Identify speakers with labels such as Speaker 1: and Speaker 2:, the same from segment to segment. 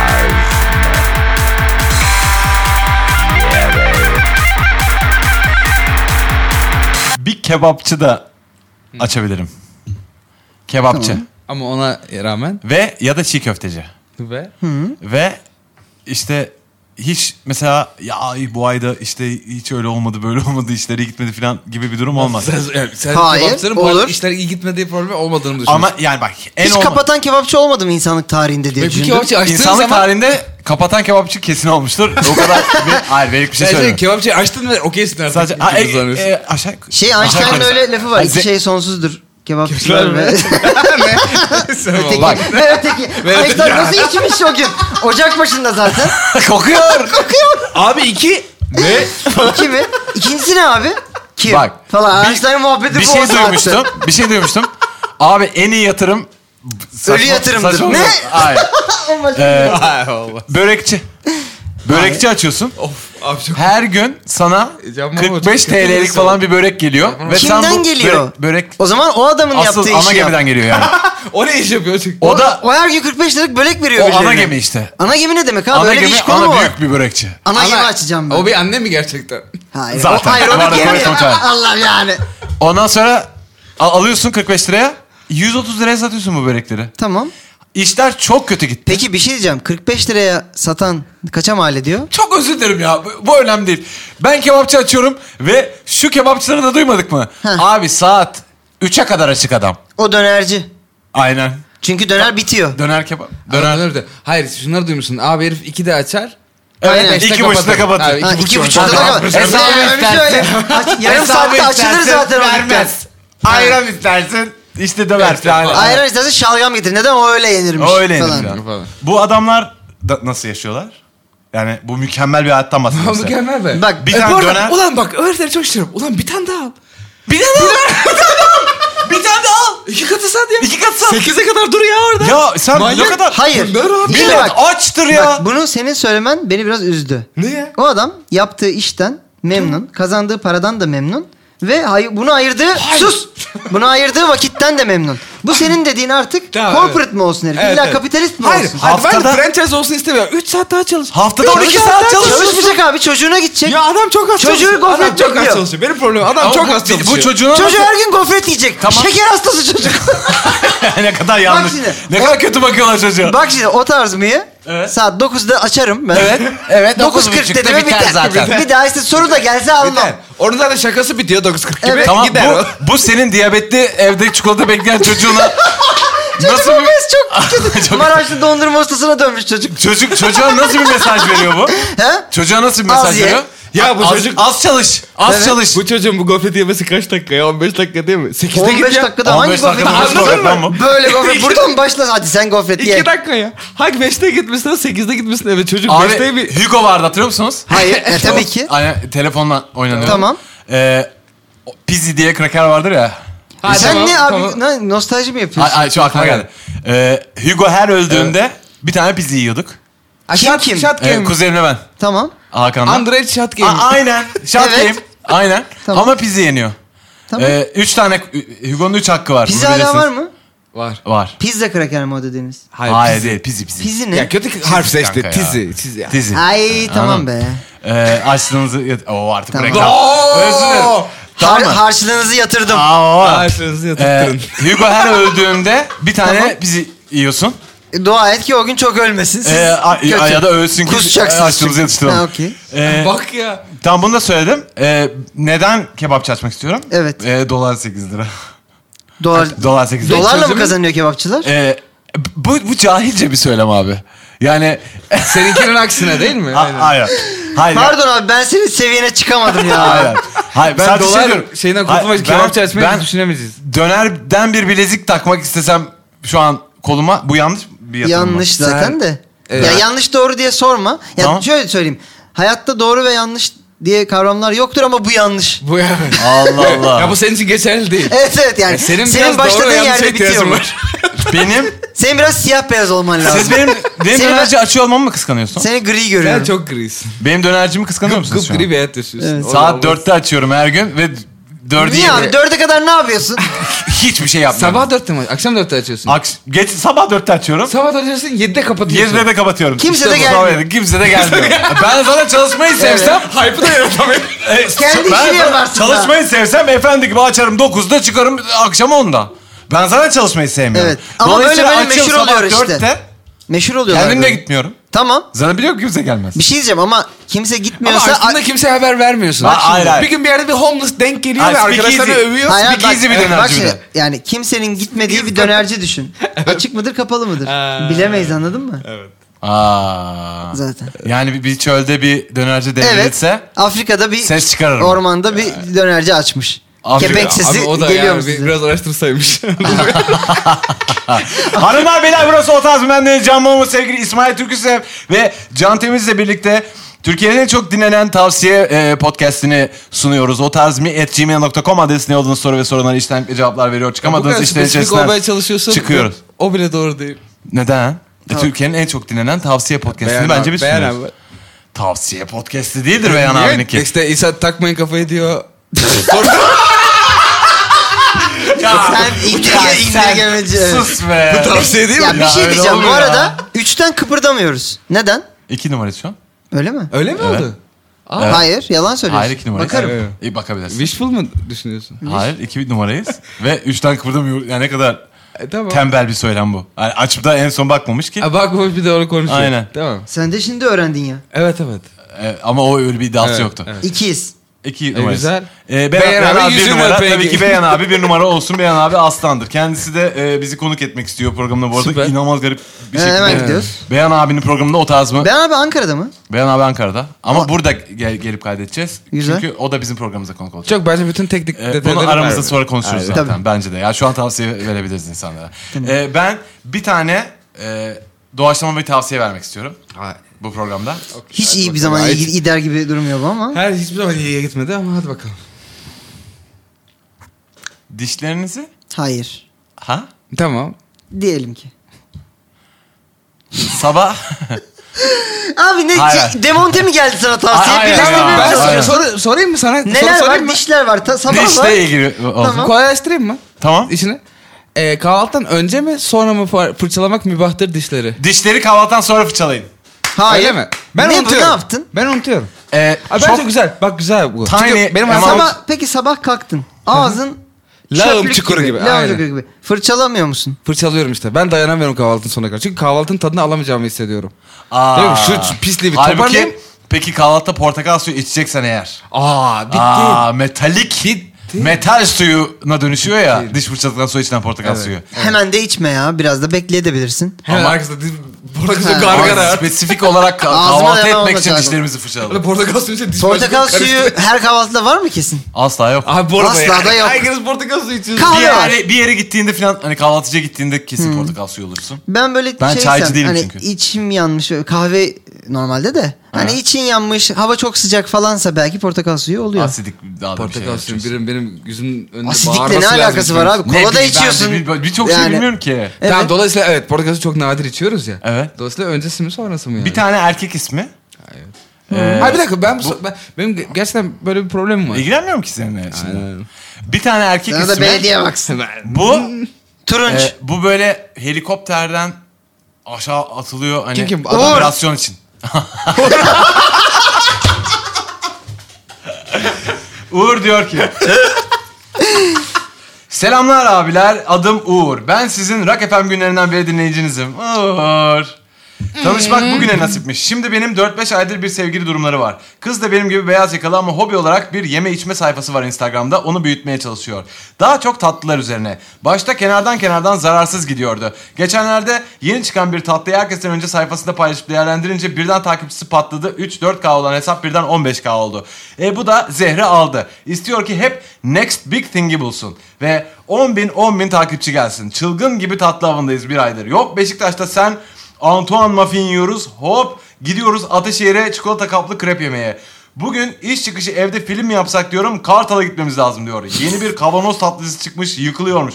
Speaker 1: Otarz
Speaker 2: Bir kebapçı da açabilirim. Kebapçı
Speaker 3: Ama ona rağmen
Speaker 2: ve ya da çiğ köfteci.
Speaker 3: ve
Speaker 2: Ve işte hiç mesela ya ay bu ayda işte hiç öyle olmadı böyle olmadı işleri gitmedi falan gibi bir durum olmaz.
Speaker 3: sen, yani sen
Speaker 4: Hayır,
Speaker 3: kebapçının
Speaker 4: olur.
Speaker 3: bazı işler iyi gitmediği problemi olmadığını düşünüyorsun.
Speaker 2: Ama yani bak en
Speaker 4: Hiç
Speaker 2: olma-
Speaker 4: kapatan kebapçı olmadım insanlık tarihinde diye
Speaker 3: Ve bir
Speaker 4: düşündüm.
Speaker 3: kebapçı açtığın
Speaker 2: İnsanlık
Speaker 3: zaman...
Speaker 2: tarihinde kapatan kebapçı kesin olmuştur. O kadar bir, hayır benim bir şey
Speaker 3: Sen- sen
Speaker 2: söylemiyorum.
Speaker 3: kebapçıyı açtın ve okeysin artık.
Speaker 2: Sadece ha, e,
Speaker 3: İkimiz anlıyoruz.
Speaker 2: e, aşağı
Speaker 4: Şey
Speaker 2: aşağı
Speaker 4: Einstein'ın
Speaker 2: yukarı.
Speaker 4: öyle lafı var.
Speaker 2: Ha,
Speaker 4: İki
Speaker 2: ze-
Speaker 4: şey sonsuzdur. Kebapçılar ve...
Speaker 3: Sen
Speaker 4: Öteki.
Speaker 3: bak.
Speaker 4: Ve öteki. Einstein nasıl içmiş o gün? Ocak başında zaten.
Speaker 2: Kokuyor.
Speaker 3: Abi iki ve
Speaker 4: İki mi? İkincisi ne abi? Kim?
Speaker 2: Bak,
Speaker 4: Falan.
Speaker 2: bir-
Speaker 4: Einstein muhabbeti
Speaker 2: bir
Speaker 4: bu o
Speaker 2: şey
Speaker 4: saatte.
Speaker 2: duymuştum. Bir şey duymuştum. Abi en iyi yatırım
Speaker 4: Ölü yatırımdır.
Speaker 2: saçma-
Speaker 4: Ne?
Speaker 2: Hayır. Ee,
Speaker 3: Ay Allah.
Speaker 2: börekçi. Börekçi açıyorsun.
Speaker 3: Of abi çok
Speaker 2: Her gün sana
Speaker 3: Yapma bu,
Speaker 2: 45
Speaker 3: çok kötü bir
Speaker 2: TL'lik
Speaker 3: insan.
Speaker 2: falan bir börek geliyor. Ve sen
Speaker 4: Kimden
Speaker 2: bu
Speaker 4: geliyor?
Speaker 2: Börek, börek
Speaker 4: O zaman o adamın
Speaker 2: asıl
Speaker 4: yaptığı
Speaker 2: ana
Speaker 4: işi yap.
Speaker 2: gemiden geliyor yani.
Speaker 3: O ne iş yapıyor? Çünkü-
Speaker 2: O da
Speaker 4: O her gün 45 liralık börek veriyor
Speaker 2: o
Speaker 4: birilerine.
Speaker 2: ana gemi işte.
Speaker 4: Ana gemi ne demek abi?
Speaker 2: Ana
Speaker 4: Öyle
Speaker 2: gemi
Speaker 4: bir iş konu mu
Speaker 2: ana
Speaker 4: var?
Speaker 2: büyük bir börekçi.
Speaker 4: Ana
Speaker 3: Ama-
Speaker 4: gemi açacağım ben.
Speaker 3: O bir anne mi gerçekten?
Speaker 4: Hayır.
Speaker 2: Zaten.
Speaker 4: O, hayır o
Speaker 2: Bu arada
Speaker 4: bir gemi.
Speaker 2: komik komik.
Speaker 4: Allah yani.
Speaker 2: Ondan sonra a- alıyorsun 45 liraya. 130 liraya satıyorsun bu börekleri.
Speaker 4: Tamam.
Speaker 2: İşler çok kötü gitti.
Speaker 4: Peki bir şey diyeceğim. 45 liraya satan kaça mal ediyor?
Speaker 2: Çok özür dilerim ya. Bu, bu önemli değil. Ben kebapçı açıyorum ve şu kebapçıları da duymadık mı?
Speaker 4: Heh.
Speaker 2: Abi saat 3'e kadar açık adam.
Speaker 4: O dönerci.
Speaker 2: Aynen.
Speaker 4: Çünkü döner bitiyor.
Speaker 2: Döner kebap.
Speaker 3: Döner.
Speaker 2: Döner.
Speaker 3: Döner de. Hayır şunları duymuşsun. Abi herif iki de açar.
Speaker 4: Aynen.
Speaker 3: beşte
Speaker 2: İki buçukta kapatır.
Speaker 3: Abi,
Speaker 4: Ha, iki
Speaker 3: buçukta
Speaker 4: buçukta da
Speaker 3: kapatır.
Speaker 4: kapat.
Speaker 2: Hesabı
Speaker 4: Ee,
Speaker 2: istersen.
Speaker 4: öyle. Aç- Yarım saatte açılır zaten o dükkan.
Speaker 2: Ayran istersen işte döver
Speaker 3: Evet,
Speaker 2: falan.
Speaker 3: falan.
Speaker 4: Ayran istersen şalgam getir. Neden o öyle yenirmiş?
Speaker 2: O Öyle yenir
Speaker 4: falan.
Speaker 2: falan.
Speaker 3: Falan.
Speaker 2: Bu adamlar da nasıl yaşıyorlar? Yani bu mükemmel bir hayattan bahsediyoruz.
Speaker 3: Abi mükemmel be.
Speaker 4: Bak
Speaker 2: Bir
Speaker 3: E, bu
Speaker 2: tane
Speaker 3: arada-
Speaker 2: döner.
Speaker 3: Ulan bak öğretleri çok şaşırıyorum. Ulan bir tane daha al.
Speaker 2: Bir tane al. bir tane al.
Speaker 3: İki katı sat ya.
Speaker 2: İki katı sat.
Speaker 3: Sekize kadar dur ya orada.
Speaker 2: Ya sen ne
Speaker 3: Manyak.
Speaker 2: kadar...
Speaker 4: hayır.
Speaker 3: Döner abi.
Speaker 4: Bir kere
Speaker 2: Millet
Speaker 4: bak.
Speaker 2: açtır ya.
Speaker 4: Bak bunu senin söylemen beni biraz üzdü.
Speaker 3: Niye?
Speaker 4: O adam yaptığı işten memnun, kazandığı paradan da memnun ve hay- bunu ayırdığı sus. Bunu ayırdığı vakitten de memnun. Bu senin dediğin artık
Speaker 3: Tamam,
Speaker 4: corporate
Speaker 3: evet.
Speaker 4: mi olsun herif?
Speaker 3: Evet,
Speaker 4: İlla
Speaker 3: evet.
Speaker 4: kapitalist mi
Speaker 3: Hayır,
Speaker 4: olsun?
Speaker 3: hayır ben
Speaker 2: Haftada-
Speaker 3: de franchise olsun istemiyorum. 3 saat daha çalış.
Speaker 2: Haftada
Speaker 3: Üç
Speaker 2: 12 saat
Speaker 3: daha
Speaker 2: çalışır.
Speaker 4: Çalışmayacak abi çocuğuna gidecek.
Speaker 3: Ya adam çok az
Speaker 4: Çocuğu
Speaker 3: çalışıyor.
Speaker 4: gofret
Speaker 3: Adam çok az
Speaker 4: bekliyor.
Speaker 3: çalışıyor. Benim problemim adam
Speaker 2: Ama
Speaker 3: çok
Speaker 2: bu-
Speaker 3: az çalışıyor.
Speaker 2: Bu çocuğuna
Speaker 4: Çocuğu her gün gofret yiyecek.
Speaker 2: Tamam.
Speaker 4: Şeker hastası çocuk.
Speaker 2: ne kadar yanlış.
Speaker 4: şimdi.
Speaker 2: Ne kadar kötü bakıyorlar çocuğa.
Speaker 4: Bak şimdi o tarz mıyı?
Speaker 2: Evet.
Speaker 4: Saat 9'da açarım ben.
Speaker 2: Evet. Evet.
Speaker 4: 9.40
Speaker 2: 9.40'da
Speaker 4: dedim biter,
Speaker 2: biter
Speaker 4: biter
Speaker 2: zaten.
Speaker 4: Bir daha işte soru da gelse almam.
Speaker 3: Biter. Onun zaten şakası bitiyor 9.40 gibi.
Speaker 4: Evet.
Speaker 2: Tamam
Speaker 3: Gider o.
Speaker 2: bu, bu senin diyabetli evde çikolata bekleyen çocuğuna nasıl bir...
Speaker 4: Biz çok kötü. Maraşlı dondurma ustasına dönmüş çocuk.
Speaker 2: Çocuk çocuğa nasıl bir mesaj veriyor bu?
Speaker 4: He?
Speaker 2: Çocuğa nasıl bir
Speaker 4: Az
Speaker 2: mesaj
Speaker 4: ye.
Speaker 2: veriyor?
Speaker 3: Ya bu
Speaker 2: az,
Speaker 3: çocuk-
Speaker 2: az çalış. Az
Speaker 4: Evet.
Speaker 2: çalış.
Speaker 3: Bu çocuğun bu gofreti yemesi kaç dakika ya? 15 dakika değil mi? 8'de git
Speaker 4: 15
Speaker 3: ya.
Speaker 4: dakikada hangi
Speaker 2: 15 dakikada
Speaker 4: gofret?
Speaker 2: nasıl
Speaker 3: Anladın
Speaker 2: program
Speaker 3: mı?
Speaker 2: bu?
Speaker 4: Böyle gofret. Buradan başla. Hadi sen gofret
Speaker 3: 2
Speaker 4: ye.
Speaker 3: dakika ya. Hak 5'te gitmişsin 8'de gitmişsin eve. Çocuk
Speaker 2: Abi
Speaker 3: 5'te bir...
Speaker 2: Hugo vardı hatırlıyor musunuz?
Speaker 4: Hayır. E, tabii ki.
Speaker 2: Aynen telefonla oynanıyor.
Speaker 4: Tamam.
Speaker 2: Ee, o Pizzi diye kraker vardır ya.
Speaker 3: Ha,
Speaker 4: sen
Speaker 3: tamam,
Speaker 4: ne abi?
Speaker 3: tamam.
Speaker 4: ne- nostalji mi
Speaker 2: Ay,
Speaker 4: yapıyorsun?
Speaker 2: ay, şu aklıma
Speaker 3: Aynen.
Speaker 2: geldi. Ee, Hugo her öldüğünde bir tane pizzi yiyorduk.
Speaker 4: Kim kim?
Speaker 3: Shot
Speaker 2: Ee,
Speaker 3: game.
Speaker 2: kuzenimle ben.
Speaker 4: Tamam.
Speaker 2: Hakan'la.
Speaker 3: Android shot game.
Speaker 2: A- aynen. Şart
Speaker 4: Evet.
Speaker 2: game. Aynen.
Speaker 4: Tamam.
Speaker 2: Ama pizza yeniyor.
Speaker 4: Tamam.
Speaker 2: Ee, üç tane, Hugo'nun üç hakkı var.
Speaker 4: Pizza
Speaker 2: bunu
Speaker 4: hala
Speaker 2: bilirsiniz.
Speaker 4: var mı?
Speaker 3: Var.
Speaker 2: Var.
Speaker 4: Pizza kraker mi o dediğiniz?
Speaker 2: Hayır,
Speaker 3: Hayır, pizzi.
Speaker 2: değil. Pizzi, pizzi.
Speaker 4: Pizza ne?
Speaker 3: Ya kötü harf seçti.
Speaker 2: kanka ya.
Speaker 3: Tizi. Tizi ya.
Speaker 2: Dizi.
Speaker 4: Ay tamam be.
Speaker 2: Ee, açtığınızı... Oo artık
Speaker 4: Tamam.
Speaker 2: reklam. Özür dilerim. Tamam
Speaker 4: Har-
Speaker 2: mı?
Speaker 4: harçlığınızı yatırdım.
Speaker 2: Aa, o.
Speaker 3: Ağaçlarınızı
Speaker 2: Ee,
Speaker 3: yatırttırın.
Speaker 2: Hugo her öldüğünde bir tane
Speaker 4: Tamam.
Speaker 2: pizzi yiyorsun.
Speaker 4: Dua et ki o gün çok ölmesin. Siz
Speaker 2: Ee, a-
Speaker 4: kötü.
Speaker 2: a- ya da ölsün ki
Speaker 4: Kusacaksınız
Speaker 2: açtığımızı
Speaker 4: çünkü.
Speaker 2: yatıştıralım.
Speaker 4: Ha, okey.
Speaker 2: Ee,
Speaker 3: Bak ya.
Speaker 2: tamam bunu da söyledim. Ee, neden kebapçı açmak istiyorum?
Speaker 4: Evet.
Speaker 2: Ee, dolar 8 lira.
Speaker 4: Dolar,
Speaker 2: dolar 8 lira.
Speaker 4: dolarla mı
Speaker 3: Çözümü-
Speaker 4: kazanıyor kebapçılar?
Speaker 2: Ee, bu, bu cahilce bir söylem abi. Yani
Speaker 3: Seninkinin aksine değil mi?
Speaker 2: A- hayır. Hayır.
Speaker 4: Pardon abi ben senin seviyene çıkamadım ya.
Speaker 2: Hayır. Hayır.
Speaker 3: Ben
Speaker 2: sadece şey
Speaker 3: dolar
Speaker 2: diyorum.
Speaker 3: şeyinden
Speaker 2: Hayır,
Speaker 3: kurtulmak için
Speaker 2: ben-
Speaker 3: kebapçı açmayı
Speaker 2: ben
Speaker 3: düşünemeyeceğiz.
Speaker 2: dönerden bir bilezik takmak istesem şu an koluma bu yanlış bir yatırım mı?
Speaker 4: yanlış zaten de.
Speaker 3: Evet.
Speaker 4: Ya yanlış doğru diye sorma. Ya
Speaker 2: Tamam.
Speaker 4: şöyle söyleyeyim. Hayatta doğru ve yanlış diye kavramlar yoktur ama bu yanlış.
Speaker 3: Bu ya.
Speaker 2: Allah Allah. E,
Speaker 3: ya bu senin için geçerli değil.
Speaker 4: Evet evet yani.
Speaker 3: Ya
Speaker 4: senin
Speaker 3: senin biraz
Speaker 4: başladığın
Speaker 3: doğru ve yanlış şey
Speaker 4: yerde bitiyor
Speaker 3: ihtiyacın
Speaker 4: mu?
Speaker 3: var.
Speaker 2: benim
Speaker 4: Senin biraz siyah beyaz olman lazım.
Speaker 2: siz benim benim
Speaker 4: Seni ben-
Speaker 2: dönerci açıyor olmamı mı kıskanıyorsun?
Speaker 4: Seni gri
Speaker 3: Sen
Speaker 4: görüyorum.
Speaker 3: çok grisin.
Speaker 2: Benim dönercimi kıskanıyor musunuz şu an?
Speaker 3: Gıp gri bir hayat yaşıyorsun.
Speaker 4: Evet.
Speaker 3: O da
Speaker 2: Saat
Speaker 3: olmaz.
Speaker 2: 4'te açıyorum her gün ve Dördü
Speaker 4: Niye abi?
Speaker 2: yedi.
Speaker 4: Dörde kadar ne yapıyorsun?
Speaker 2: Hiçbir şey yapmıyorum.
Speaker 3: Sabah dörtte mi? Akşam dörtte açıyorsun.
Speaker 2: Aks- geç, sabah dörtte açıyorum.
Speaker 3: Sabah dörtte açıyorsun yedide kapatıyorsun.
Speaker 2: 7'de de kapatıyorum.
Speaker 4: Kimse de
Speaker 2: bu
Speaker 4: gelmiyor.
Speaker 2: sabah yedi. Kimse de gelmiyor. ben zaten çalışmayı sevsem...
Speaker 3: Hype'ı da yaratamıyorum.
Speaker 2: e,
Speaker 4: Kendi
Speaker 2: ben
Speaker 4: işini
Speaker 2: zaten
Speaker 4: yaparsın
Speaker 2: Çalışmayı sevsem efendi gibi açarım 9'da çıkarım akşam 10'da. Ben zaten çalışmayı sevmiyorum.
Speaker 4: Evet. Ama böyle
Speaker 2: Dolayısıyla
Speaker 4: böyle
Speaker 2: açıyorum
Speaker 4: meşhur
Speaker 2: sabah
Speaker 4: oluyor işte.
Speaker 2: 4'te,
Speaker 4: Meşhur oluyorlar.
Speaker 2: Kendim de
Speaker 4: böyle.
Speaker 2: gitmiyorum.
Speaker 4: Tamam.
Speaker 2: Zaten biliyorum kimse gelmez.
Speaker 4: Bir şey diyeceğim ama kimse
Speaker 3: Ama
Speaker 4: gitmiyorsa...
Speaker 3: aslında kimseye haber vermiyorsun.
Speaker 2: Bak şimdi.
Speaker 3: Bir gün bir yerde bir homeless denk geliyor
Speaker 2: Ay,
Speaker 3: ve arkadaşlarını
Speaker 2: speakeasy.
Speaker 3: övüyor.
Speaker 4: Hayır,
Speaker 2: Bir gizli bir dönerci
Speaker 4: Bak
Speaker 2: bir
Speaker 4: şimdi,
Speaker 2: de.
Speaker 4: yani kimsenin gitmediği bir dönerci düşün. Açık mıdır kapalı mıdır?
Speaker 3: Ee.
Speaker 4: Bilemeyiz anladın mı?
Speaker 2: Aa.
Speaker 4: Zaten.
Speaker 2: Yani bir, bir çölde bir dönerci
Speaker 4: Evet.
Speaker 2: devrilse...
Speaker 4: Afrika'da bir
Speaker 2: Ses çıkarırım.
Speaker 4: ormanda bir dönerci açmış.
Speaker 2: Afrika-
Speaker 4: Kepek
Speaker 3: Abi
Speaker 4: sesi
Speaker 3: o da
Speaker 4: geliyor
Speaker 3: yani
Speaker 4: mu size?
Speaker 3: bir- biraz araştırsaymış.
Speaker 2: Hanımlar beyler burası O Tarz Ben de Can Momo sevgili İsmail Türküsev ve Can Temiz'le birlikte Türkiye'nin en çok dinlenen tavsiye e, podcastini sunuyoruz. O tarz mi at gmail.com adresine yolladığınız soru ve sorulara içtenlikle cevaplar veriyor. Çıkamadığınız işlerin içerisinden
Speaker 3: olmaya çalışıyorsun.
Speaker 2: çıkıyoruz.
Speaker 3: O bile doğru değil.
Speaker 2: Neden? E,
Speaker 4: Tamam.
Speaker 2: Türkiye'nin en çok dinlenen tavsiye podcastini bence biz
Speaker 3: Beyan
Speaker 2: sunuyoruz.
Speaker 3: abi.
Speaker 2: Tavsiye podcasti değildir Beyan abininki.
Speaker 3: İşte İsa takmayın kafayı diyor.
Speaker 4: Sen indirge- indirgemeci. evet.
Speaker 2: Sus be.
Speaker 3: Tavsiye değil
Speaker 4: Ya
Speaker 3: mi?
Speaker 4: bir
Speaker 2: öyle
Speaker 4: şey diyeceğim. Bu
Speaker 2: olmuyor
Speaker 4: arada üçten kıpırdamıyoruz. Neden?
Speaker 2: İki numara şu an.
Speaker 4: Öyle mi?
Speaker 3: Öyle mi
Speaker 2: Evet.
Speaker 3: oldu?
Speaker 2: Evet.
Speaker 4: Hayır, yalan söylüyorsun.
Speaker 2: Hayır iki numarayız.
Speaker 4: Bakarım.
Speaker 3: Evet.
Speaker 2: İyi bakabilirsin.
Speaker 3: Wishful mu düşünüyorsun?
Speaker 2: Hayır iki numarayız. ve üçten kıpırdamıyoruz. Yani ne kadar
Speaker 3: E, tamam.
Speaker 2: Tembel bir söylem bu. Yani açıp da en son bakmamış ki.
Speaker 3: Ha, bak bu bir doğru konuşuyor.
Speaker 2: Aynen.
Speaker 3: Tamam.
Speaker 4: Sen de şimdi öğrendin ya.
Speaker 3: Evet evet.
Speaker 2: Ee, ama o öyle bir iddiası
Speaker 3: Evet,
Speaker 2: yoktu.
Speaker 3: evet. E,
Speaker 4: İkiz.
Speaker 2: İki numara.
Speaker 3: güzel.
Speaker 2: Ee, Beyan,
Speaker 3: Beyan
Speaker 2: Beyan
Speaker 3: abi
Speaker 2: abi bir
Speaker 3: yüzünü
Speaker 2: numara.
Speaker 3: öpeyim.
Speaker 2: Tabii ki Beyan abi bir numara olsun. Beyan abi aslandır. Kendisi de e, bizi konuk etmek istiyor programda bu arada.
Speaker 3: Süper.
Speaker 2: İnanılmaz garip bir
Speaker 4: Ee,
Speaker 2: şekilde.
Speaker 4: hemen gidiyoruz.
Speaker 2: Beyan abinin programında o tarz mı?
Speaker 4: Ben abi Ankara'da mı?
Speaker 2: Beyan abi Ankara'da. Ama burada gel- gelip kaydedeceğiz.
Speaker 4: Güzel.
Speaker 2: Çünkü o da bizim programımıza konuk olacak.
Speaker 3: Çok bence bütün teknik
Speaker 2: Ee,
Speaker 3: detayları
Speaker 2: bunu aramızda
Speaker 3: ver.
Speaker 2: sonra konuşuruz
Speaker 3: Aynen.
Speaker 2: zaten
Speaker 4: Tabii.
Speaker 2: bence de. Ya şu an tavsiye verebiliriz insanlara. Ee, ben bir tane e, doğaçlama bir tavsiye vermek istiyorum
Speaker 3: Ha,
Speaker 2: bu programda.
Speaker 4: Hiç
Speaker 3: Hadi
Speaker 4: iyi bir
Speaker 3: bakalım.
Speaker 4: zaman
Speaker 3: Ay,
Speaker 4: gider gibi durmuyor bu ama.
Speaker 3: Her hiçbir zaman iyiye gitmedi ama hadi bakalım.
Speaker 2: Dişlerinizi
Speaker 4: Hayır.
Speaker 2: ha
Speaker 3: Tamam.
Speaker 4: Diyelim ki.
Speaker 2: sabah
Speaker 4: Abi ne
Speaker 2: Hayır,
Speaker 4: şey-
Speaker 2: hayır.
Speaker 4: Demonte mi geldi sana tavsiye?
Speaker 2: Hayır, hayır,
Speaker 4: Bilemem
Speaker 2: hayır.
Speaker 4: ya.
Speaker 3: ben sana
Speaker 2: aynen.
Speaker 3: soru, sorayım mı sana?
Speaker 4: Neler
Speaker 3: Sor-
Speaker 4: var?
Speaker 3: sorayım mı?
Speaker 4: Dişler var. Ta, sabah var.
Speaker 2: dişle ilgili olsun.
Speaker 4: Tamam.
Speaker 3: Kolaylaştırayım mı?
Speaker 2: Tamam.
Speaker 3: İşini. Ee, kahvaltıdan önce mi sonra mı far- fırçalamak mübahtır dişleri?
Speaker 2: Dişleri kahvaltıdan sonra fırçalayın.
Speaker 4: Hayır.
Speaker 3: Öyle mi? Ben
Speaker 4: ne,
Speaker 3: unutuyorum.
Speaker 4: Ne yaptın?
Speaker 3: Ben unutuyorum.
Speaker 2: Ee,
Speaker 3: Abi
Speaker 2: çok
Speaker 3: bence güzel. Bak güzel bu.
Speaker 2: Tiny
Speaker 3: Çünkü benim
Speaker 2: amount-
Speaker 3: hayatım...
Speaker 4: Sabah, peki sabah kalktın. Ağzın
Speaker 3: Lağım
Speaker 4: çöplük
Speaker 3: çukuru gibi,
Speaker 4: Lağım
Speaker 3: aynen.
Speaker 4: çukuru gibi. Fırçalamıyor musun?
Speaker 3: Fırçalıyorum işte. Ben dayanamıyorum kahvaltının sonuna kadar. Çünkü kahvaltının tadını alamayacağımı hissediyorum.
Speaker 2: Aa.
Speaker 3: Değil mi? Şu- şu pisliği bir
Speaker 2: Halbuki,
Speaker 3: toparlayayım.
Speaker 2: Peki kahvaltıda portakal suyu içeceksen eğer.
Speaker 3: Aa bitti.
Speaker 2: Aa metalik. Metal suyuna dönüşüyor ya.
Speaker 3: Bitti.
Speaker 2: Diş fırçaladıktan sonra içilen portakal suyu.
Speaker 4: Hemen de içme ya. Biraz da bekleyebilirsin.
Speaker 3: Hemen
Speaker 2: Ama-
Speaker 3: arkasında diz- portakal
Speaker 4: Ha.
Speaker 3: suyu gargara.
Speaker 2: Ama spesifik olarak kah-
Speaker 4: Ağzıma
Speaker 2: kahvaltı
Speaker 4: devam
Speaker 2: etmek için
Speaker 4: olacak.
Speaker 2: dişlerimizi
Speaker 3: Böyle
Speaker 2: fırçalayalım.
Speaker 3: portakal suyu içe diş
Speaker 4: Portakal
Speaker 3: başlığı
Speaker 4: suyu
Speaker 3: karıştı.
Speaker 4: her kahvaltıda var mı kesin?
Speaker 2: Asla yok.
Speaker 3: Abi bu arada
Speaker 4: Asla
Speaker 3: yani.
Speaker 4: da yok.
Speaker 3: Herkes portakal suyu içiyor.
Speaker 4: Kahve
Speaker 2: bir
Speaker 4: var.
Speaker 2: yere, bir yere gittiğinde falan hani kahvaltıcıya gittiğinde kesin portakal suyu olursun.
Speaker 4: Ben böyle
Speaker 2: Ben
Speaker 4: şeysem,
Speaker 2: çaycı değilim
Speaker 4: hani
Speaker 2: çünkü.
Speaker 4: içim yanmış kahve normalde de hani için yanmış hava çok sıcak falansa belki portakal suyu oluyor.
Speaker 2: Asidik daha da bir şey.
Speaker 3: Portakal suyu
Speaker 2: yapacaksın.
Speaker 3: benim, benim yüzümün önünde
Speaker 4: Asidikle
Speaker 3: bağırması
Speaker 4: ne
Speaker 3: lazım
Speaker 4: alakası var
Speaker 3: çünkü.
Speaker 4: abi?
Speaker 2: Ne
Speaker 4: Kola da
Speaker 2: bileyim, ben de
Speaker 4: içiyorsun.
Speaker 2: bil- Birçok şey
Speaker 4: Yani-
Speaker 2: bilmiyorum ki.
Speaker 4: Evet.
Speaker 3: Tamam dolayısıyla evet portakal suyu çok nadir içiyoruz ya.
Speaker 2: Evet.
Speaker 3: Dolayısıyla öncesi mi sonrası mı yani?
Speaker 2: Bir tane erkek ismi. Ee,
Speaker 3: Ha bir dakika ben, bu, ben- benim ge- gerçekten böyle bir problemim var.
Speaker 2: ilgilenmiyor mu ki seninle şimdi? Bir tane erkek
Speaker 4: Sana da
Speaker 2: ismi.
Speaker 4: belediye baksın.
Speaker 2: Bu
Speaker 4: Turunç.
Speaker 2: e, bu böyle helikopterden aşağı atılıyor hani
Speaker 3: Kim kim?
Speaker 2: adam
Speaker 3: Uğur.
Speaker 2: operasyon için. Uğur diyor ki. Selamlar abiler. Adım Uğur. Ben sizin Rock FM günlerinden beri dinleyicinizim. Uğur. Tanışmak bugüne nasipmiş. Şimdi benim 4-5 aydır bir sevgili durumları var. Kız da benim gibi beyaz yakalı ama hobi olarak bir yeme içme sayfası var Instagram'da. Onu büyütmeye çalışıyor. Daha çok tatlılar üzerine. Başta kenardan kenardan zararsız gidiyordu. Geçenlerde yeni çıkan bir tatlıyı herkesten önce sayfasında paylaşıp değerlendirince birden takipçisi patladı. 3-4K olan hesap birden 15K oldu. E bu da zehri aldı. İstiyor ki hep next big thing'i bulsun. Ve 10 bin 10 bin takipçi gelsin. Çılgın gibi tatlı avındayız bir aydır. Yok Beşiktaş'ta sen Antoine muffin yiyoruz. Hop gidiyoruz Ataşehir'e çikolata kaplı krep yemeye. Bugün iş çıkışı evde film mi yapsak diyorum. Kartal'a gitmemiz lazım diyor. Yeni bir kavanoz tatlısı çıkmış yıkılıyormuş.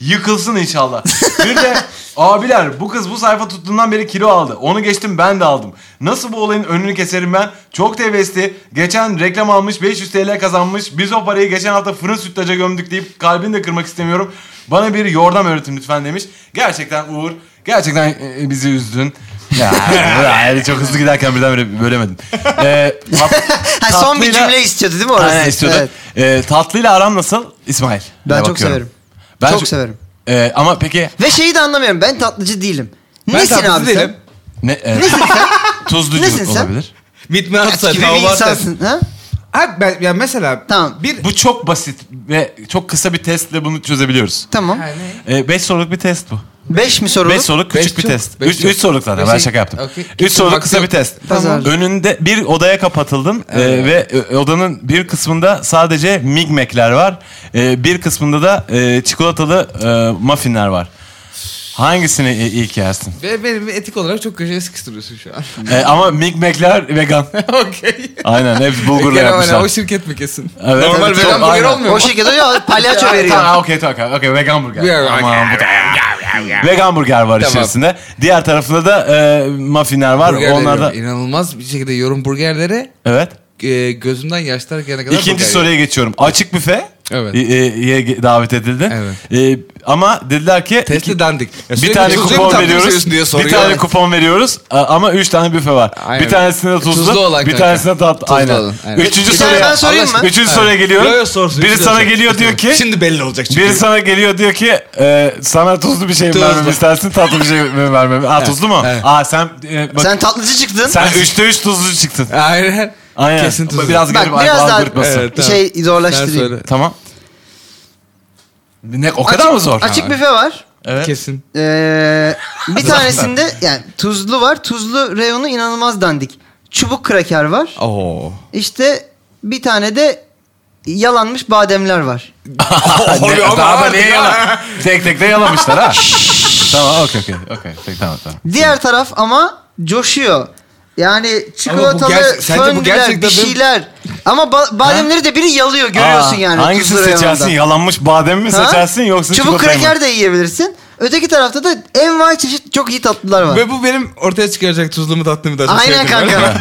Speaker 2: Yıkılsın inşallah. Bir de Abiler bu kız bu sayfa tuttuğundan beri kilo aldı. Onu geçtim ben de aldım. Nasıl bu olayın önünü keserim ben? Çok tevesti. Geçen reklam almış 500 TL kazanmış. Biz o parayı geçen hafta fırın sütlaca gömdük deyip kalbini de kırmak istemiyorum. Bana bir yordam öğretin lütfen demiş. Gerçekten Uğur. Gerçekten e, bizi üzdün. Ya, yani çok hızlı giderken birden böyle bölemedim. Ee, tat-
Speaker 4: Ha, son
Speaker 2: tatlıyla-
Speaker 4: bir cümle istiyordu değil mi orası?
Speaker 2: Aynen istiyordu.
Speaker 4: Evet.
Speaker 2: Ee, tatlıyla aram nasıl İsmail?
Speaker 4: Ben çok
Speaker 2: bakıyorum.
Speaker 4: severim.
Speaker 2: Ben
Speaker 4: Çok
Speaker 2: şu-
Speaker 4: severim.
Speaker 2: Ee, ama peki
Speaker 4: Ve şeyi de anlamıyorum. Ben tatlıcı değilim.
Speaker 3: Ben
Speaker 4: Nesin
Speaker 3: tatlıcı
Speaker 4: abi
Speaker 3: değilim.
Speaker 2: ne e, tuzlucu
Speaker 4: Nesin sen?
Speaker 2: olabilir.
Speaker 3: Midnight
Speaker 4: sen?
Speaker 3: Sun,
Speaker 4: Gibi bir
Speaker 3: Tavlata.
Speaker 4: insansın. Ha?
Speaker 3: Abi ben, ya mesela
Speaker 4: Tamam.
Speaker 3: bir
Speaker 2: Bu çok basit ve çok kısa bir testle bunu çözebiliyoruz.
Speaker 4: Tamam.
Speaker 3: yani,
Speaker 2: 5 soruluk bir test bu.
Speaker 4: Beş mi sorulur?
Speaker 2: 5 soruluk
Speaker 3: Beş
Speaker 2: küçük bir
Speaker 3: çok-
Speaker 2: test.
Speaker 3: beş
Speaker 2: 3
Speaker 3: çok-
Speaker 2: 3 soruluk zaten.
Speaker 3: beş
Speaker 2: Ben
Speaker 3: şey-
Speaker 2: şaka yaptım.
Speaker 3: Okey.
Speaker 2: 3 soruluk
Speaker 3: Bak,
Speaker 2: kısa
Speaker 3: yok.
Speaker 2: bir test.
Speaker 4: Pazarlık.
Speaker 2: Önünde bir odaya kapatıldın e,
Speaker 3: Evet.
Speaker 2: ve e, odanın bir kısmında sadece migmekler var. E, bir kısmında da e, çikolatalı e, muffinler var. Hangisini i- ilk yersin?
Speaker 3: ve benim etik olarak çok köşeye sıkıştırıyorsun şu an.
Speaker 2: E, ama migmekler vegan.
Speaker 3: Okey.
Speaker 2: Aynen hep bulgurla
Speaker 3: Genel olarak O
Speaker 2: yapmışlar.
Speaker 3: şirket mi kesin?
Speaker 2: Evet,
Speaker 3: Normal
Speaker 2: evet,
Speaker 3: vegan
Speaker 2: çok-
Speaker 3: burger
Speaker 2: aynen.
Speaker 3: olmuyor mu?
Speaker 4: O şirkete ya palyaço
Speaker 2: Tamam,
Speaker 4: veriyor.
Speaker 2: Tamam, okey, tamam, okey. Vegan burger.
Speaker 3: Vegan
Speaker 2: Aman, bu da- Vegan burger var
Speaker 3: Tamam.
Speaker 2: içerisinde. Diğer tarafında da e, muffinler var.
Speaker 3: Burgerleri
Speaker 2: Onlar da...
Speaker 3: inanılmaz bir şekilde yorum burgerlere
Speaker 2: Evet.
Speaker 3: e, gözümden yaşlar gelene kadar
Speaker 2: İkinci
Speaker 3: burger
Speaker 2: soruya geçiyorum. Açık büfe.
Speaker 3: Evet.
Speaker 2: e, e, ye- davet edildin.
Speaker 3: Evet.
Speaker 2: E, ama dediler ki
Speaker 3: Testi
Speaker 2: iki-
Speaker 3: dandik.
Speaker 2: bir
Speaker 3: Ya sürekli
Speaker 2: tane
Speaker 3: tuzlu mu
Speaker 2: kupon
Speaker 3: tatlı mı
Speaker 2: veriyoruz.
Speaker 3: seviyorsun diye
Speaker 2: bir
Speaker 3: soruyor.
Speaker 2: tane
Speaker 3: Evet.
Speaker 2: kupon veriyoruz a- ama üç tane büfe var.
Speaker 3: Aynen. E,
Speaker 2: Bir tanesinde tuzlu,
Speaker 3: Tuzlu olan
Speaker 2: bir
Speaker 3: kanka.
Speaker 2: tanesinde tatlı.
Speaker 3: Tuzlu
Speaker 2: Aynen.
Speaker 3: olan, aynen.
Speaker 2: Üçüncü
Speaker 4: Bir tane
Speaker 2: soruya.
Speaker 4: ben sorayım
Speaker 2: Allah
Speaker 4: mı?
Speaker 2: aşkına. Üçüncü soruya geliyorum.
Speaker 3: Yo, yo, sorsun.
Speaker 2: Biri
Speaker 3: Üçüncü
Speaker 2: sana
Speaker 3: soru.
Speaker 2: geliyor diyor ki
Speaker 3: Şimdi belli olacak çünkü.
Speaker 2: Biri sana geliyor diyor ki e, sana tuzlu bir şey mi
Speaker 3: Tuzlu.
Speaker 2: vermemi istersin tatlı bir şey mi vermemi? Aa tuzlu mu?
Speaker 3: Evet.
Speaker 2: Aa sen e, bak,
Speaker 4: Sen tatlıcı çıktın.
Speaker 2: sen, üçte üç tuzlu çıktın.
Speaker 3: Aynen.
Speaker 2: Aynen.
Speaker 3: Kesin tuzlu.
Speaker 2: Biraz
Speaker 4: Bak,
Speaker 2: garip
Speaker 4: biraz
Speaker 2: biraz
Speaker 4: daha-
Speaker 2: algoritması.
Speaker 3: Evet.
Speaker 4: bir şey
Speaker 3: Sen
Speaker 4: zorlaştırayım.
Speaker 3: söyle.
Speaker 2: Tamam. Ne o kadar
Speaker 4: Açık-
Speaker 2: mı zor?
Speaker 4: Açık
Speaker 2: Ha.
Speaker 4: büfe var.
Speaker 2: Evet.
Speaker 3: Kesin.
Speaker 4: Ee, bir tanesinde yani tuzlu var. Tuzlu reyonu inanılmaz dandik. Çubuk kraker var.
Speaker 3: Oo.
Speaker 4: İşte bir tane de yalanmış bademler var.
Speaker 2: Ne-
Speaker 3: Ama
Speaker 2: daha da
Speaker 3: vardı
Speaker 2: niye
Speaker 3: ya.
Speaker 2: yalan? Tek tek de yalamışlar ha. tamam okey okey. okey. Tek- Tamam tamam.
Speaker 4: Diğer taraf ama coşuyor. Yani çikolatalı
Speaker 3: gerçek- sence bu
Speaker 4: föndiler
Speaker 3: gerçekten
Speaker 4: bir
Speaker 3: bir-
Speaker 4: şeyler. Ama ba- bademleri de biri yalıyor görüyorsun
Speaker 2: Aa,
Speaker 4: yani.
Speaker 2: Hangisini
Speaker 4: tuzlu reyonunda.
Speaker 2: seçersin? Yalanmış badem mi
Speaker 4: Ha?
Speaker 2: seçersin yoksa
Speaker 4: Çubuk
Speaker 2: çikolatayı mı?
Speaker 4: kraker de yiyebilirsin. Öteki tarafta da envai çeşit çok iyi tatlılar var.
Speaker 3: Ve bu benim ortaya çıkaracak tuzlu mu tatlı mı da çok
Speaker 4: Aynen
Speaker 3: sevdiğim var.
Speaker 4: kanka.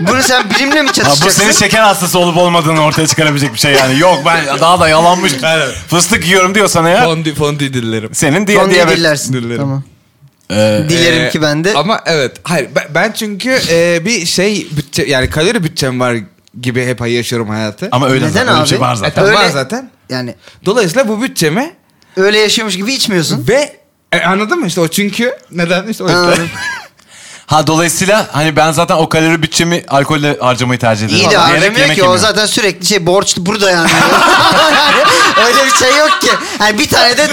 Speaker 4: Bunu sen bilimle mi
Speaker 2: Ha, bu senin
Speaker 4: çatışacaksın?
Speaker 2: şeker hastası olup olmadığını ortaya çıkarabilecek bir şey yani. Yok ben daha da yalanmış
Speaker 3: Aynen.
Speaker 2: fıstık yiyorum diyorsan eğer
Speaker 3: Fondü, fondü dillerim.
Speaker 2: senin diye
Speaker 4: Son diye
Speaker 2: diyabet.
Speaker 4: dilersin.
Speaker 3: Dilerim.
Speaker 4: Tamam.
Speaker 2: Ee,
Speaker 4: Dilerim
Speaker 3: Ee,
Speaker 4: ki ben de.
Speaker 3: Ama evet. Hayır ben, ben çünkü e, bir şey bütçe yani kalori bütçem var gibi hep yaşıyorum hayatı.
Speaker 2: ama öyle
Speaker 4: Neden
Speaker 2: zaten, öyle bir
Speaker 4: abi?
Speaker 2: şey var
Speaker 3: E,
Speaker 2: zaten.
Speaker 3: tamam,
Speaker 4: öyle-
Speaker 3: var zaten.
Speaker 4: Yani
Speaker 3: Dolayısıyla bu bütçemi
Speaker 4: öyle yaşıyormuş gibi içmiyorsun.
Speaker 3: ve e, anladın mı işte o çünkü neden işte o yüzden.
Speaker 4: Anladım.
Speaker 2: Ha dolayısıyla hani ben zaten o kalori bütçemi alkolle harcamayı tercih ederim.
Speaker 4: İyi de
Speaker 2: Diyerek
Speaker 4: harcamıyor
Speaker 2: yemek
Speaker 4: ki o
Speaker 2: yemiyorum.
Speaker 4: zaten sürekli şey borç burada yani. Yani öyle bir şey yok ki. Yani bir tane de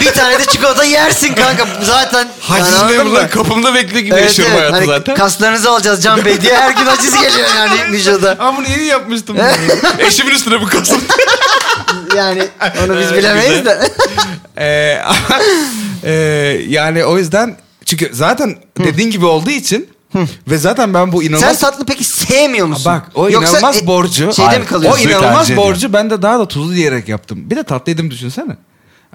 Speaker 4: bir tane de çikolata yersin kanka. Zaten yani anladın
Speaker 3: Hacizle
Speaker 4: mı?
Speaker 3: bunlar kapımda bekliyor gibi
Speaker 4: Evet,
Speaker 3: yaşıyorum
Speaker 4: evet.
Speaker 3: hayatı
Speaker 4: Hani
Speaker 3: zaten.
Speaker 4: Kaslarınızı alacağız Can Bey diye her gün haciz geliyor yani vücuda.
Speaker 3: Ama bunu yeni yapmıştım. bunu. Eşimin üstüne bu kasım.
Speaker 4: Yani onu biz
Speaker 3: Evet,
Speaker 4: bilemeyiz
Speaker 3: güzel.
Speaker 4: de.
Speaker 3: Ee, ama, e, yani o yüzden çünkü zaten dediğin gibi olduğu için ve zaten ben bu
Speaker 4: Sen
Speaker 3: inanılmaz
Speaker 4: tatlı peki sevmiyor musun?
Speaker 3: bak o
Speaker 4: Yoksa
Speaker 3: inanılmaz
Speaker 4: e,
Speaker 3: borcu
Speaker 4: Şeyde
Speaker 2: Hayır,
Speaker 4: mi
Speaker 3: o
Speaker 4: kalıyorsun?
Speaker 2: Suyu tercih
Speaker 3: inanılmaz
Speaker 2: ediyor.
Speaker 3: borcu ben de daha da tuzlu diyerek yaptım. Bir de tatlı yedim düşünsene.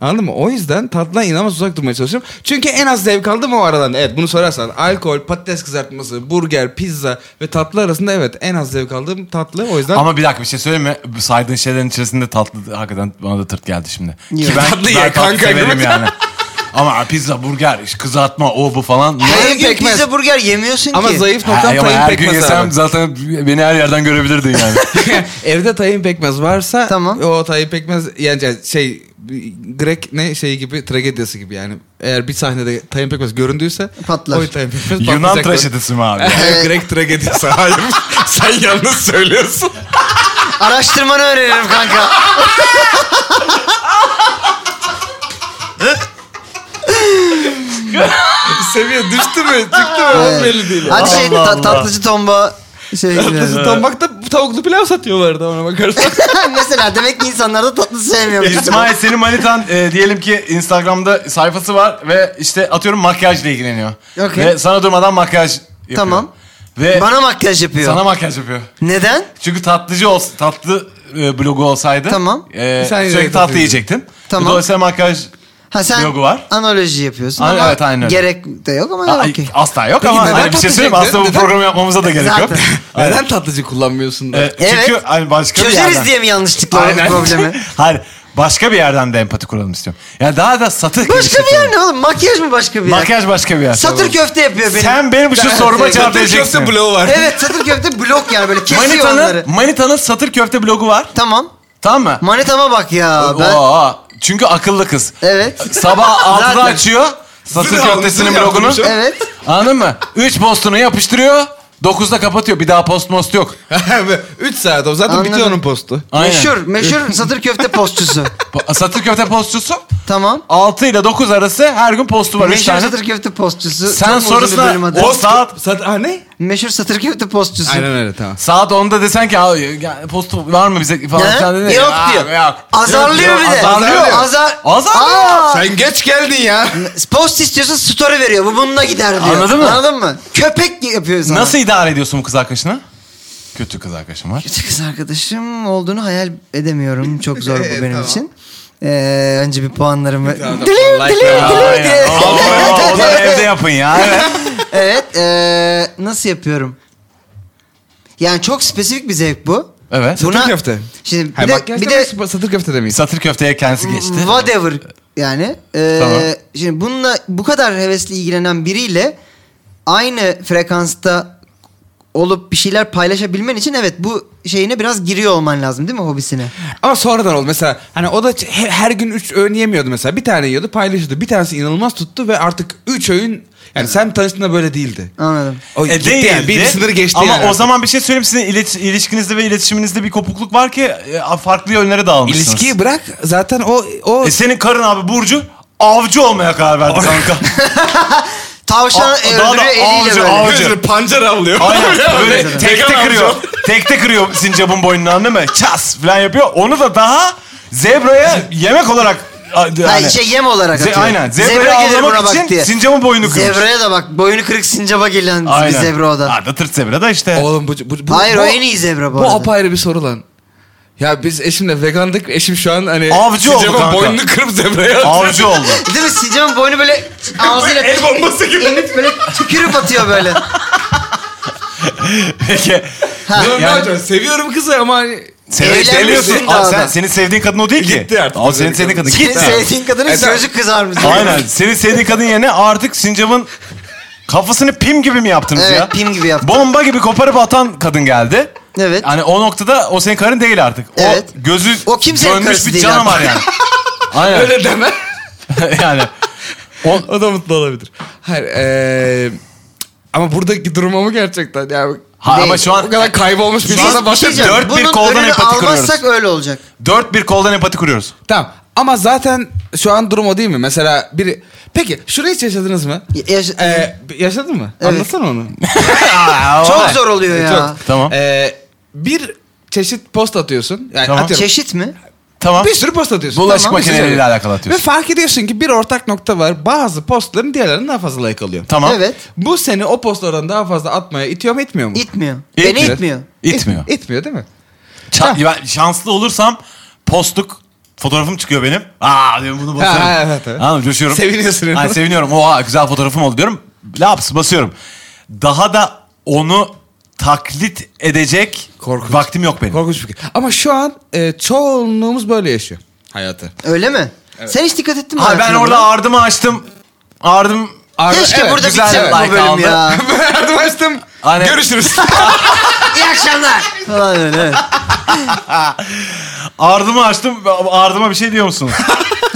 Speaker 3: Anladın mı? O yüzden tatlıdan inanılmaz uzak durmaya çalışıyorum. Çünkü en az zevk aldım o aradan. Evet bunu sorarsan alkol, patates kızartması, burger, pizza ve tatlı arasında evet en az zevk aldığım tatlı. O yüzden
Speaker 2: Ama bir dakika bir şey söyleyeyim mi? Bu saydığın şeylerin içerisinde tatlı hakikaten bana da tırt geldi şimdi. Ki ben,
Speaker 3: Tatlı
Speaker 2: ben
Speaker 3: ye kanka,
Speaker 2: severim
Speaker 3: evet.
Speaker 2: yani. Ama pizza, burger, iş- kızartma, o bu falan.
Speaker 4: Her
Speaker 3: Tayin
Speaker 4: gün
Speaker 3: pekmez.
Speaker 4: pizza burger yemiyorsun
Speaker 3: ama
Speaker 4: ki.
Speaker 3: zayıf
Speaker 2: Ha,
Speaker 3: noktam
Speaker 2: ama
Speaker 3: tayin
Speaker 2: her gün
Speaker 3: pekmez
Speaker 2: yesem
Speaker 3: abi.
Speaker 2: zaten beni her yerden görebilirdin yani.
Speaker 3: Evde tayin pekmez varsa
Speaker 4: Tamam.
Speaker 3: o tayin pekmez yani şey Grek ne şey gibi tragediyası gibi yani. Eğer bir sahnede tayin pekmez göründüyse
Speaker 4: Patlar.
Speaker 3: o tayin pekmez
Speaker 2: Yunan
Speaker 3: patlayacak.
Speaker 2: trajedisi mi abi?
Speaker 3: Grek tragediyası hayır. Sen yalnız söylüyorsun.
Speaker 4: Araştırmanı öneririm kanka.
Speaker 3: Seviye düştü mü? Çıktı mı?
Speaker 4: Evet.
Speaker 3: O belli değil.
Speaker 4: Hadi şey
Speaker 2: Allah
Speaker 4: ta-
Speaker 2: Allah.
Speaker 4: tatlıcı tomba şey
Speaker 3: Tatlısı
Speaker 4: gibi.
Speaker 3: Tombak'ta tavuklu pilav satıyorlardı ona bakarsan.
Speaker 4: Mesela demek ki insanlar da tatlı sevmiyormuş.
Speaker 2: İsmail senin manitan e, diyelim ki Instagram'da sayfası var ve işte atıyorum makyajla ilgileniyor.
Speaker 4: Okey.
Speaker 2: Ve sana durmadan makyaj yapıyor.
Speaker 4: Tamam.
Speaker 2: Ve
Speaker 4: Bana makyaj yapıyor.
Speaker 2: sana makyaj yapıyor.
Speaker 4: Neden?
Speaker 2: Çünkü tatlıcı olsa, tatlı e, blogu olsaydı
Speaker 4: Tamam.
Speaker 2: e,
Speaker 3: Sen
Speaker 2: sürekli
Speaker 3: yedin.
Speaker 2: tatlı yiyecektin. E,
Speaker 4: Tamam.
Speaker 2: Dolayısıyla makyaj
Speaker 4: Ha sen
Speaker 2: Logo var.
Speaker 4: analoji yapıyorsun
Speaker 2: Aynen,
Speaker 4: ama
Speaker 2: evet, aynen öyle.
Speaker 4: gerek de yok ama
Speaker 2: Aa,
Speaker 4: okey.
Speaker 2: Asla yok
Speaker 3: Peki
Speaker 2: ama
Speaker 3: neden
Speaker 2: hani bir şey söyleyeyim mi?
Speaker 3: patlayacak?
Speaker 2: aslında bu
Speaker 3: Neden?
Speaker 2: programı yapmamıza da gerek yok.
Speaker 4: Zaten.
Speaker 3: Neden tatlıcı kullanmıyorsun da?
Speaker 2: Ee, Çünkü
Speaker 4: Evet.
Speaker 2: hani başka bir
Speaker 4: Çözeriz
Speaker 2: yerden.
Speaker 4: diye mi yanlışlıkla
Speaker 2: Aynen.
Speaker 4: o problemi?
Speaker 2: Hayır. Başka bir yerden de empati kuralım istiyorum. Ya daha da satır şey
Speaker 4: Başka bir yer ne oğlum? Makyaj mı başka bir yer?
Speaker 2: Makyaj başka bir yer.
Speaker 4: Satır köfte yapıyor benim.
Speaker 2: Sen benim şu soruma cevap vereceksin.
Speaker 3: Köfte bloğu var.
Speaker 4: Evet satır köfte blok yani böyle kesiyor onları.
Speaker 2: Manitanın, manitanın satır köfte blogu var.
Speaker 4: Tamam.
Speaker 2: Tamam mı?
Speaker 4: Manitama bak ya. Ben...
Speaker 2: Oo, çünkü akıllı kız.
Speaker 4: Evet.
Speaker 2: Sabah 6'da
Speaker 4: Zaten.
Speaker 2: açıyor. Satır
Speaker 3: Zırh almış,
Speaker 2: köftesinin
Speaker 3: zırh
Speaker 2: blogunu.
Speaker 3: yapmış o.
Speaker 4: Evet.
Speaker 2: Anladın mı? 3 postunu yapıştırıyor. 9'da kapatıyor. Bir daha post most yok.
Speaker 3: 3 saat o zaten
Speaker 4: Anladım.
Speaker 3: bitiyor onun postu.
Speaker 2: Aynen.
Speaker 4: Meşhur, meşhur satır köfte postçusu.
Speaker 2: Po- Satır köfte postçusu.
Speaker 4: Tamam.
Speaker 2: 6 ile 9 arası her gün postu var. 3
Speaker 4: Meşhur
Speaker 2: tane.
Speaker 4: satır köfte postçusu.
Speaker 2: Sen
Speaker 4: Çok uzun bir bölüm
Speaker 2: sorusuna
Speaker 4: adı.
Speaker 2: o saat
Speaker 3: Sat, ha ne?
Speaker 4: Meşhur satır köfte postçusu.
Speaker 3: Aynen öyle tamam.
Speaker 2: Saat 10'da desen ki "Abi, ya, postu var mı bize falan
Speaker 4: Ne?
Speaker 2: filan dedin.
Speaker 4: Yok
Speaker 2: "Aa,
Speaker 4: diyor.
Speaker 2: yok."
Speaker 4: Azarlıyor
Speaker 2: Yok diyor,
Speaker 4: bir de.
Speaker 2: Azarlıyor.
Speaker 4: Azar.
Speaker 2: Azarlıyor.
Speaker 4: Aa!
Speaker 3: Sen geç geldin ya.
Speaker 4: Post istiyorsun story veriyor. Bu bununla gider diyor.
Speaker 2: Anladın mı?
Speaker 4: Anladın mı? Köpek yapıyor sana.
Speaker 2: Nasıl idare ediyorsun bu kız arkadaşını? Kötü kız arkadaşım var.
Speaker 4: Kötü kız arkadaşım olduğunu hayal edemiyorum. Çok zor bu
Speaker 3: Evet,
Speaker 4: benim
Speaker 3: tamam.
Speaker 4: için. Ee, önce bir puanlarımı...
Speaker 3: Tamam, tamam.
Speaker 4: Dilim
Speaker 3: Like
Speaker 4: dilim
Speaker 3: ver.
Speaker 4: dilim diye.
Speaker 2: Aynen. Oo, Onları evde yapın ya. Evet.
Speaker 4: Evet. ee, nasıl yapıyorum? Yani çok spesifik bir zevk bu.
Speaker 2: evet.
Speaker 3: Satır köfte.
Speaker 4: Şimdi bir
Speaker 3: Ha,
Speaker 4: de,
Speaker 3: makyaj
Speaker 4: bir
Speaker 3: demeyiz,
Speaker 4: de
Speaker 3: satır köfte demeyiz.
Speaker 2: Satır köfteye kendisi geçti.
Speaker 4: whatever yani. Ee,
Speaker 2: Tamam.
Speaker 4: Şimdi bununla bu kadar hevesli ilgilenen biriyle aynı frekansta olup bir şeyler paylaşabilmen için evet bu şeyine biraz giriyor olman lazım değil mi hobisine?
Speaker 3: Ama sonradan oldu mesela hani o da ç- he- her gün 3 öğün yemiyordu mesela. Bir tane yiyordu paylaşıyordu. Bir tanesi inanılmaz tuttu ve artık 3 öğün yani sen tanıştığında böyle değildi.
Speaker 4: Anladım.
Speaker 3: O
Speaker 2: E,
Speaker 3: gitti
Speaker 2: değildi.
Speaker 3: yani, bir sınırı geçti
Speaker 2: Ama
Speaker 3: yani.
Speaker 2: o zaman bir şey söyleyeyim sizin ilet- ilişkinizde ve iletişiminizde bir kopukluk var ki e, farklı yönlere dağılmışsınız.
Speaker 3: İlişkiyi bırak zaten o o
Speaker 2: E, senin karın abi Burcu avcı olmaya karar verdi kanka.
Speaker 4: Tavşan
Speaker 2: Aa, daha da
Speaker 4: öldürüyor eliyle
Speaker 2: avcı,
Speaker 4: böyle.
Speaker 2: avcı.
Speaker 3: pancar avlıyor.
Speaker 2: Aynen böyle
Speaker 4: Tabii.
Speaker 2: tekte
Speaker 3: Vegan
Speaker 2: kırıyor.
Speaker 3: avcı.
Speaker 2: tekte kırıyor sincapın boynuna anladın mı? Ças falan yapıyor. Onu da daha zebraya yemek olarak a- hani,
Speaker 4: Hayır
Speaker 2: yani-
Speaker 4: şey yem olarak
Speaker 2: Ze-
Speaker 4: atıyor.
Speaker 2: aynen. Zebrayı
Speaker 4: Zebra gelir
Speaker 2: avlamak
Speaker 4: buna bak
Speaker 2: için
Speaker 4: diye.
Speaker 2: sincabın boynunu kırmış.
Speaker 4: Zebraya da bak. Boynu kırık sincaba gelen bir zebra o da.
Speaker 2: Ha, da tırt zebra da işte.
Speaker 3: Oğlum bu, bu, bu
Speaker 4: Hayır
Speaker 3: bu,
Speaker 4: o en iyi zebra bu,
Speaker 3: Bu
Speaker 4: arada.
Speaker 3: apayrı bir soru lan. Ya biz eşimle vegandık. Eşim şu an hani
Speaker 2: Avcı oldu
Speaker 3: sincapın
Speaker 2: kanka.
Speaker 3: boynunu kırıp zebraya atıyor.
Speaker 2: avcı oldu.
Speaker 4: Değil mi? Sincap'ın boynu böyle ağzıyla
Speaker 3: El bombası gibi.
Speaker 4: emip böyle tükürüp atıyor böyle.
Speaker 2: Peki.
Speaker 4: Ha.
Speaker 3: Oğlum ne
Speaker 2: Yani-
Speaker 3: yapacaksın? Seviyorum kızı ama hani-
Speaker 2: Seni
Speaker 4: Evlenmişsin
Speaker 2: seviyorsun.
Speaker 4: daha
Speaker 2: Aa, sen,
Speaker 4: da.
Speaker 2: senin sevdiğin kadın o değil ki.
Speaker 3: Gitti artık.
Speaker 2: Aa, senin sevdiğin kadın
Speaker 4: Senin
Speaker 2: gitti.
Speaker 4: sevdiğin kadının
Speaker 3: E, tamam.
Speaker 4: gözü kızarmış.
Speaker 2: Aynen. Senin sevdiğin kadın yerine artık sincabın kafasını pim gibi mi yaptınız
Speaker 4: Evet,
Speaker 2: ya?
Speaker 4: pim gibi yaptım.
Speaker 2: Bomba gibi koparıp atan kadın geldi.
Speaker 4: Evet.
Speaker 2: Hani o noktada o senin karın değil artık. O
Speaker 4: Evet.
Speaker 2: gözü
Speaker 4: O kimsenin
Speaker 2: dönmüş
Speaker 4: karısı
Speaker 2: bir
Speaker 4: değil
Speaker 2: canavar
Speaker 4: artık.
Speaker 2: yani. Aynen.
Speaker 3: Öyle deme.
Speaker 2: yani. O,
Speaker 3: O da mutlu olabilir. Hayır. eee, ama buradaki durum ama gerçekten. Yani,
Speaker 2: ha, ama
Speaker 4: Değil.
Speaker 2: şu
Speaker 3: o
Speaker 2: an
Speaker 3: kadar kaybolmuş bir
Speaker 4: Biz
Speaker 3: insana
Speaker 4: bir şey
Speaker 3: bahsetmiyorum.
Speaker 4: diyeceğim.
Speaker 2: dört bir
Speaker 4: Bunun
Speaker 2: koldan
Speaker 4: önünü
Speaker 2: empati kuruyoruz.
Speaker 4: almazsak öyle olacak.
Speaker 2: dört bir koldan empati kuruyoruz.
Speaker 3: Tamam. Ama zaten şu an durum o değil mi? Mesela biri... Peki şurayı hiç yaşadınız mı?
Speaker 4: Ya- yaş-
Speaker 3: Ee, yaşadın mı?
Speaker 4: Evet.
Speaker 3: Anlatsana onu.
Speaker 4: Çok zor
Speaker 2: E,
Speaker 4: oluyor ya.
Speaker 3: E,
Speaker 4: E,
Speaker 3: Çok.
Speaker 2: Tamam.
Speaker 3: Ee, bir çeşit post atıyorsun. Yani
Speaker 2: Tamam.
Speaker 3: atıyorum.
Speaker 4: Çeşit mi?
Speaker 2: Tamam.
Speaker 3: Bir sürü post atıyorsun.
Speaker 2: Bulaşık
Speaker 3: Tamam, bir sürü
Speaker 2: makineleriyle
Speaker 3: şey.
Speaker 2: alakalı atıyorsun.
Speaker 3: Ve fark ediyorsun ki bir ortak nokta var. Bazı postların diğerlerinden daha fazla like alıyor.
Speaker 2: Tamam.
Speaker 4: Evet.
Speaker 3: Bu seni o postlardan daha fazla atmaya itiyor mu itmiyor mu?
Speaker 4: İtmiyor.
Speaker 2: İtmiyor.
Speaker 4: Beni itmiyor.
Speaker 2: İtmiyor.
Speaker 3: İt- İtmiyor değil mi?
Speaker 2: Ça- ben şanslı olursam postluk fotoğrafım çıkıyor benim. Aa diyorum bunu basıyorum.
Speaker 3: Ha, ha, evet, evet.
Speaker 2: Anladın mı? Coşuyorum.
Speaker 3: Seviniyorsun.
Speaker 2: Ha, seviniyorum. Oha güzel fotoğrafım oldu diyorum. Laps basıyorum. Daha da onu taklit edecek
Speaker 3: Korkunç.
Speaker 2: vaktim yok benim.
Speaker 3: Korkunç fikir. Ama şu an e, çoğunluğumuz böyle yaşıyor hayatı.
Speaker 4: Öyle mi? Sen hiç dikkat ettin mi?
Speaker 2: ha, ben
Speaker 4: hayatına
Speaker 2: orada
Speaker 4: buna?
Speaker 2: ardımı açtım. Ardım
Speaker 3: Ar-
Speaker 4: Keşke
Speaker 3: Evet,
Speaker 4: burada
Speaker 2: güzel
Speaker 4: bitse bu
Speaker 2: like
Speaker 4: bölüm
Speaker 2: aldı.
Speaker 4: ya.
Speaker 3: Yardım açtım.
Speaker 2: Aynen.
Speaker 3: Görüşürüz.
Speaker 4: İyi akşamlar. Falan öyle. evet.
Speaker 2: ardımı açtım. Ardıma bir şey diyor musun?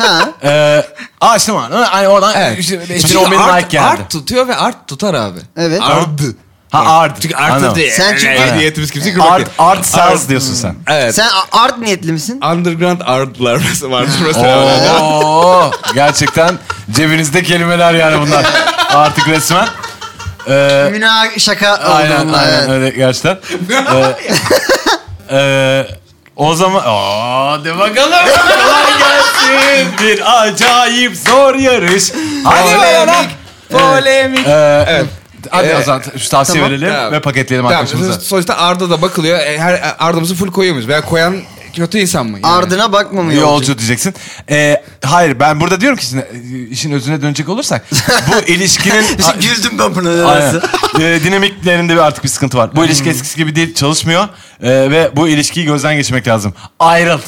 Speaker 4: Ha.
Speaker 2: ee, açtım ardımı. Hani oradan
Speaker 3: Evet.
Speaker 2: işte,
Speaker 3: Çünkü
Speaker 2: o benim
Speaker 3: art,
Speaker 2: like geldi.
Speaker 3: art tutuyor ve art tutar abi.
Speaker 4: Evet.
Speaker 3: Ardı.
Speaker 2: ha art.
Speaker 3: Çünkü
Speaker 2: Anladım.
Speaker 3: artı diye.
Speaker 4: Sen çünkü-
Speaker 3: Yani niyetimiz kimse kırmak
Speaker 2: Art,
Speaker 3: değil.
Speaker 2: art sells diyorsun sen.
Speaker 3: Evet.
Speaker 4: Sen a- art niyetli misin?
Speaker 3: Underground artlar mesela vardır mesela.
Speaker 2: Oo, gerçekten cebinizde kelimeler yani bunlar. Artık resmen. Ee,
Speaker 4: Münah şaka oldu
Speaker 2: aynen
Speaker 4: onunla,
Speaker 2: aynen
Speaker 4: evet.
Speaker 2: öyle gerçekten. Ee, ee, o zaman Oo, de bakalım. Kolay gelsin. Bir acayip zor yarış. Hadi bakalım.
Speaker 3: Polemik.
Speaker 2: Ee, Hadi
Speaker 3: Ee,
Speaker 2: o zaman şu tavsiye
Speaker 3: tamam,
Speaker 2: verelim
Speaker 3: tamam.
Speaker 2: ve paketleyelim
Speaker 3: Tamam,
Speaker 2: arkadaşımıza.
Speaker 3: e, sonuçta Arda da bakılıyor. E, Her Arda'mızı full koyuyor muyuz? Veya koyan kötü insan mı? Yani?
Speaker 4: Ardına bakmamı
Speaker 2: Yolcu,
Speaker 4: yolcu.
Speaker 2: diyeceksin. Ee, hayır ben burada diyorum ki sizin, işin özüne dönecek olursak bu ilişkinin
Speaker 4: Güldüm ben buna
Speaker 2: Aynen.
Speaker 4: nedense.
Speaker 2: Ee, dinamiklerinde bir artık bir sıkıntı var. Bu
Speaker 4: Hmm.
Speaker 2: ilişki eskisi gibi değil çalışmıyor Ee, ve bu ilişkiyi gözden geçirmek lazım. Ayrıl.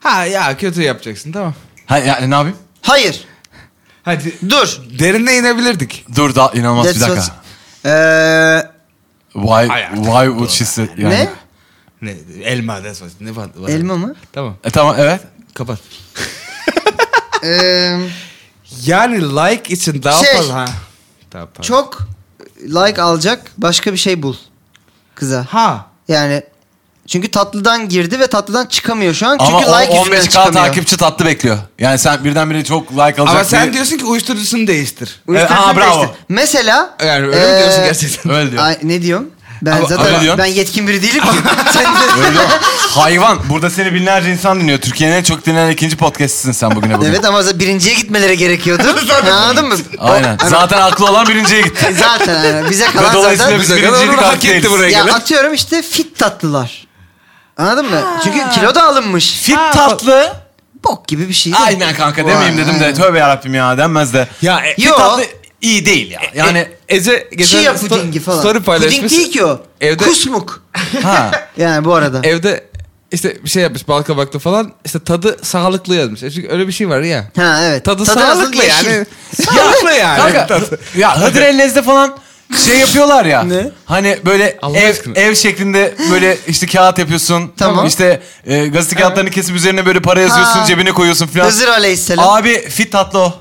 Speaker 3: Ha ya kötü yapacaksın tamam.
Speaker 2: Ha, yani ne yapayım?
Speaker 4: Hayır.
Speaker 3: Hadi
Speaker 4: Dur.
Speaker 3: derine inebilirdik.
Speaker 2: Dur da inanılmaz bir
Speaker 4: That's
Speaker 2: dakika.
Speaker 4: what- Eee,
Speaker 2: Why,
Speaker 3: Ay, artık.
Speaker 2: why would she say- yani.
Speaker 4: ne?
Speaker 3: Ne elma that's what- ne var? var-
Speaker 4: Elma mı?
Speaker 3: Tamam
Speaker 2: E, tamam evet.
Speaker 3: kapat.
Speaker 4: Eee,
Speaker 3: Yani like için daha
Speaker 4: Şey.
Speaker 3: fazla ha. Tamam, tamam.
Speaker 4: çok like alacak başka bir şey bul kıza.
Speaker 3: ha.
Speaker 4: Yani çünkü tatlıdan girdi ve tatlıdan çıkamıyor şu an. Çünkü
Speaker 2: Ama o
Speaker 4: like yüzünden
Speaker 2: 15k
Speaker 4: çıkamıyor.
Speaker 2: takipçi tatlı bekliyor. Yani sen birdenbire çok like alacak.
Speaker 3: Ama sen
Speaker 2: biri-
Speaker 3: diyorsun ki uyuşturucusunu değiştir.
Speaker 4: Uyuşturucu
Speaker 2: Ee, aa, bravo.
Speaker 4: değiştir. Mesela
Speaker 3: Yani öyle mi diyorsun
Speaker 4: eee,
Speaker 3: gerçekten?
Speaker 2: Öyle diyor.
Speaker 4: Ay, ne diyorum? Ben
Speaker 3: Ama-
Speaker 2: Öyle
Speaker 4: zaten
Speaker 2: diyorsun.
Speaker 4: ben yetkin biri değilim ki. Sen de-
Speaker 2: Öyle diyor. Hayvan. Burada seni binlerce insan dinliyor. Türkiye'nin en çok dinlenen ikinci podcast'ısın sen bugüne bugün.
Speaker 4: evet ama zaten birinciye gitmeleri gerekiyordu. Anladın mı?
Speaker 2: Aynen.
Speaker 4: O-
Speaker 2: Zaten aklı olan birinciye gitti.
Speaker 4: Zaten yani bize
Speaker 2: Ve
Speaker 4: kalan
Speaker 2: dolayısıyla
Speaker 4: zaten
Speaker 2: biz
Speaker 3: Bize kadar
Speaker 2: birincilik
Speaker 3: onu hak
Speaker 2: hakkı
Speaker 3: etti
Speaker 2: değiliz.
Speaker 3: buraya.
Speaker 4: ya
Speaker 3: göre.
Speaker 4: atıyorum işte fit tatlılar. Anladın mı? Çünkü kilo da alınmış.
Speaker 2: Fit
Speaker 3: Ha,
Speaker 2: tatlı.
Speaker 4: bok gibi bir şey. değil mi?
Speaker 2: Aynen kanka demeyeyim
Speaker 4: Vay,
Speaker 2: dedim de
Speaker 4: aynen.
Speaker 2: tövbe yarabbim ya denmez de.
Speaker 3: Ya e,
Speaker 2: Fit
Speaker 4: Yo.
Speaker 2: tatlı iyi değil ya. Yani
Speaker 3: yani Ece
Speaker 2: Şey
Speaker 3: geçen
Speaker 4: Chia
Speaker 3: sto-
Speaker 4: pudingi falan.
Speaker 3: Story paylaşmış.
Speaker 4: Puding değil ki o.
Speaker 3: Evde-
Speaker 4: Kusmuk.
Speaker 2: ha.
Speaker 4: Yani bu arada.
Speaker 3: Evde işte bir şey yapmış bal kabaklı falan. İşte tadı sağlıklı yazmış. E Çünkü öyle bir şey var ya.
Speaker 4: ha evet.
Speaker 3: Tadı,
Speaker 4: Tadı nasıl?
Speaker 3: sağlıklı
Speaker 4: Yeşil.
Speaker 3: yani. Sağlıklı yani.
Speaker 2: Kanka
Speaker 3: Tadı.
Speaker 2: ya Hıdrellez'de falan şey yapıyorlar ya.
Speaker 4: Ne?
Speaker 2: Hani böyle
Speaker 3: Allah
Speaker 2: ev,
Speaker 3: aşkına.
Speaker 2: ev şeklinde böyle işte kağıt yapıyorsun.
Speaker 4: Tamam.
Speaker 2: İşte e, gazete kağıtlarını kesip üzerine böyle para yazıyorsun,
Speaker 4: Ha.
Speaker 2: cebine koyuyorsun falan.
Speaker 4: Hızır Aleyhisselam.
Speaker 2: Abi fit tatlı o.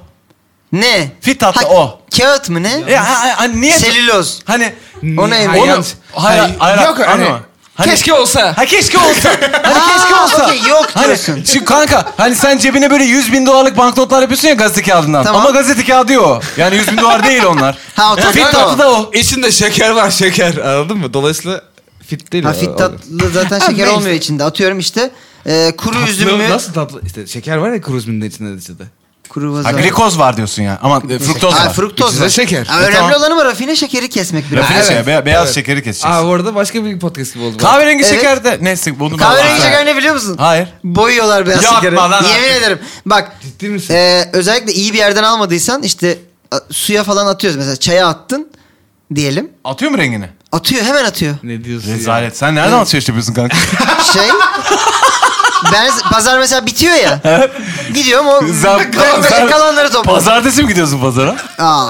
Speaker 4: ne?
Speaker 2: Fit tatlı
Speaker 4: Ha-
Speaker 2: o.
Speaker 4: Kağıt mı ne?
Speaker 2: Ya ha- ha- hani niye?
Speaker 4: Selüloz.
Speaker 2: hani
Speaker 4: O ne?
Speaker 3: Hmm, Hayır,
Speaker 2: Onu-
Speaker 3: yanlış.
Speaker 2: hayır, hayır,
Speaker 3: Yok hani.
Speaker 2: anlama. Hani-
Speaker 3: Keşke olsa.
Speaker 2: Ha keşke olsa. Hani keşke
Speaker 4: Aa,
Speaker 2: olsa.
Speaker 4: okey, yok
Speaker 2: hani,
Speaker 4: diyorsun.
Speaker 2: Şimdi kanka hani sen cebine böyle 100 bin dolarlık banknotlar yapıyorsun ya gazete kağıdından.
Speaker 4: Tamam.
Speaker 2: Ama gazete kağıdı o. Yani 100 bin dolar değil onlar.
Speaker 4: Ha, o
Speaker 2: fit
Speaker 4: tabii,
Speaker 2: tatlı
Speaker 4: o.
Speaker 2: da o.
Speaker 3: İçinde Oh, şeker var şeker anladın mı? Dolayısıyla fit değil.
Speaker 4: Ha,
Speaker 3: o- o-
Speaker 4: fit tatlı zaten
Speaker 3: Ha,
Speaker 4: şeker
Speaker 3: neyse.
Speaker 4: olmuyor içinde. Atıyorum işte e, kuru
Speaker 3: Tatlı
Speaker 4: üzümlü.
Speaker 3: Nasıl tatlı? İşte şeker var ya kuru üzümünde içinde de içinde.
Speaker 4: Kuru vaza.
Speaker 2: Ha, glikoz var diyorsun ya. Ama e, fruktoz
Speaker 4: Ha,
Speaker 2: var.
Speaker 4: fruktoz
Speaker 3: İçinde
Speaker 4: var.
Speaker 3: şeker.
Speaker 4: Ha,
Speaker 2: E,
Speaker 4: önemli
Speaker 2: tamam.
Speaker 4: olanı var rafine şekeri kesmek biraz.
Speaker 2: Rafine
Speaker 4: Ha,
Speaker 2: şeker,
Speaker 4: evet.
Speaker 2: şey, be- beyaz şekeri keseceğiz.
Speaker 3: Aa bu arada başka bir podcast gibi oldu. bu.
Speaker 2: Kahverengi
Speaker 4: Evet.
Speaker 2: şeker de neyse bunu da
Speaker 4: Kahverengi
Speaker 2: anlatma.
Speaker 4: şeker ne biliyor musun?
Speaker 2: Hayır.
Speaker 4: Boyuyorlar beyaz
Speaker 2: Yapma
Speaker 4: şekeri.
Speaker 2: lan
Speaker 4: Yemin
Speaker 2: artık.
Speaker 4: ederim. Bak
Speaker 3: Ciddi misin?
Speaker 4: e, özellikle iyi bir yerden almadıysan işte a, suya falan atıyoruz. Mesela çaya attın diyelim.
Speaker 2: Atıyor mu rengini?
Speaker 4: Atıyor hemen atıyor.
Speaker 3: Ne diyorsun ya?
Speaker 2: Rezalet. Sen nereden alışveriş yapıyorsun kanka?
Speaker 4: Şey ben pazar mesela bitiyor ya. Gidiyorum o
Speaker 2: Sen- sen-
Speaker 4: kalanları topluyorum.
Speaker 2: Pazartesi mi gidiyorsun pazara?
Speaker 4: Aa.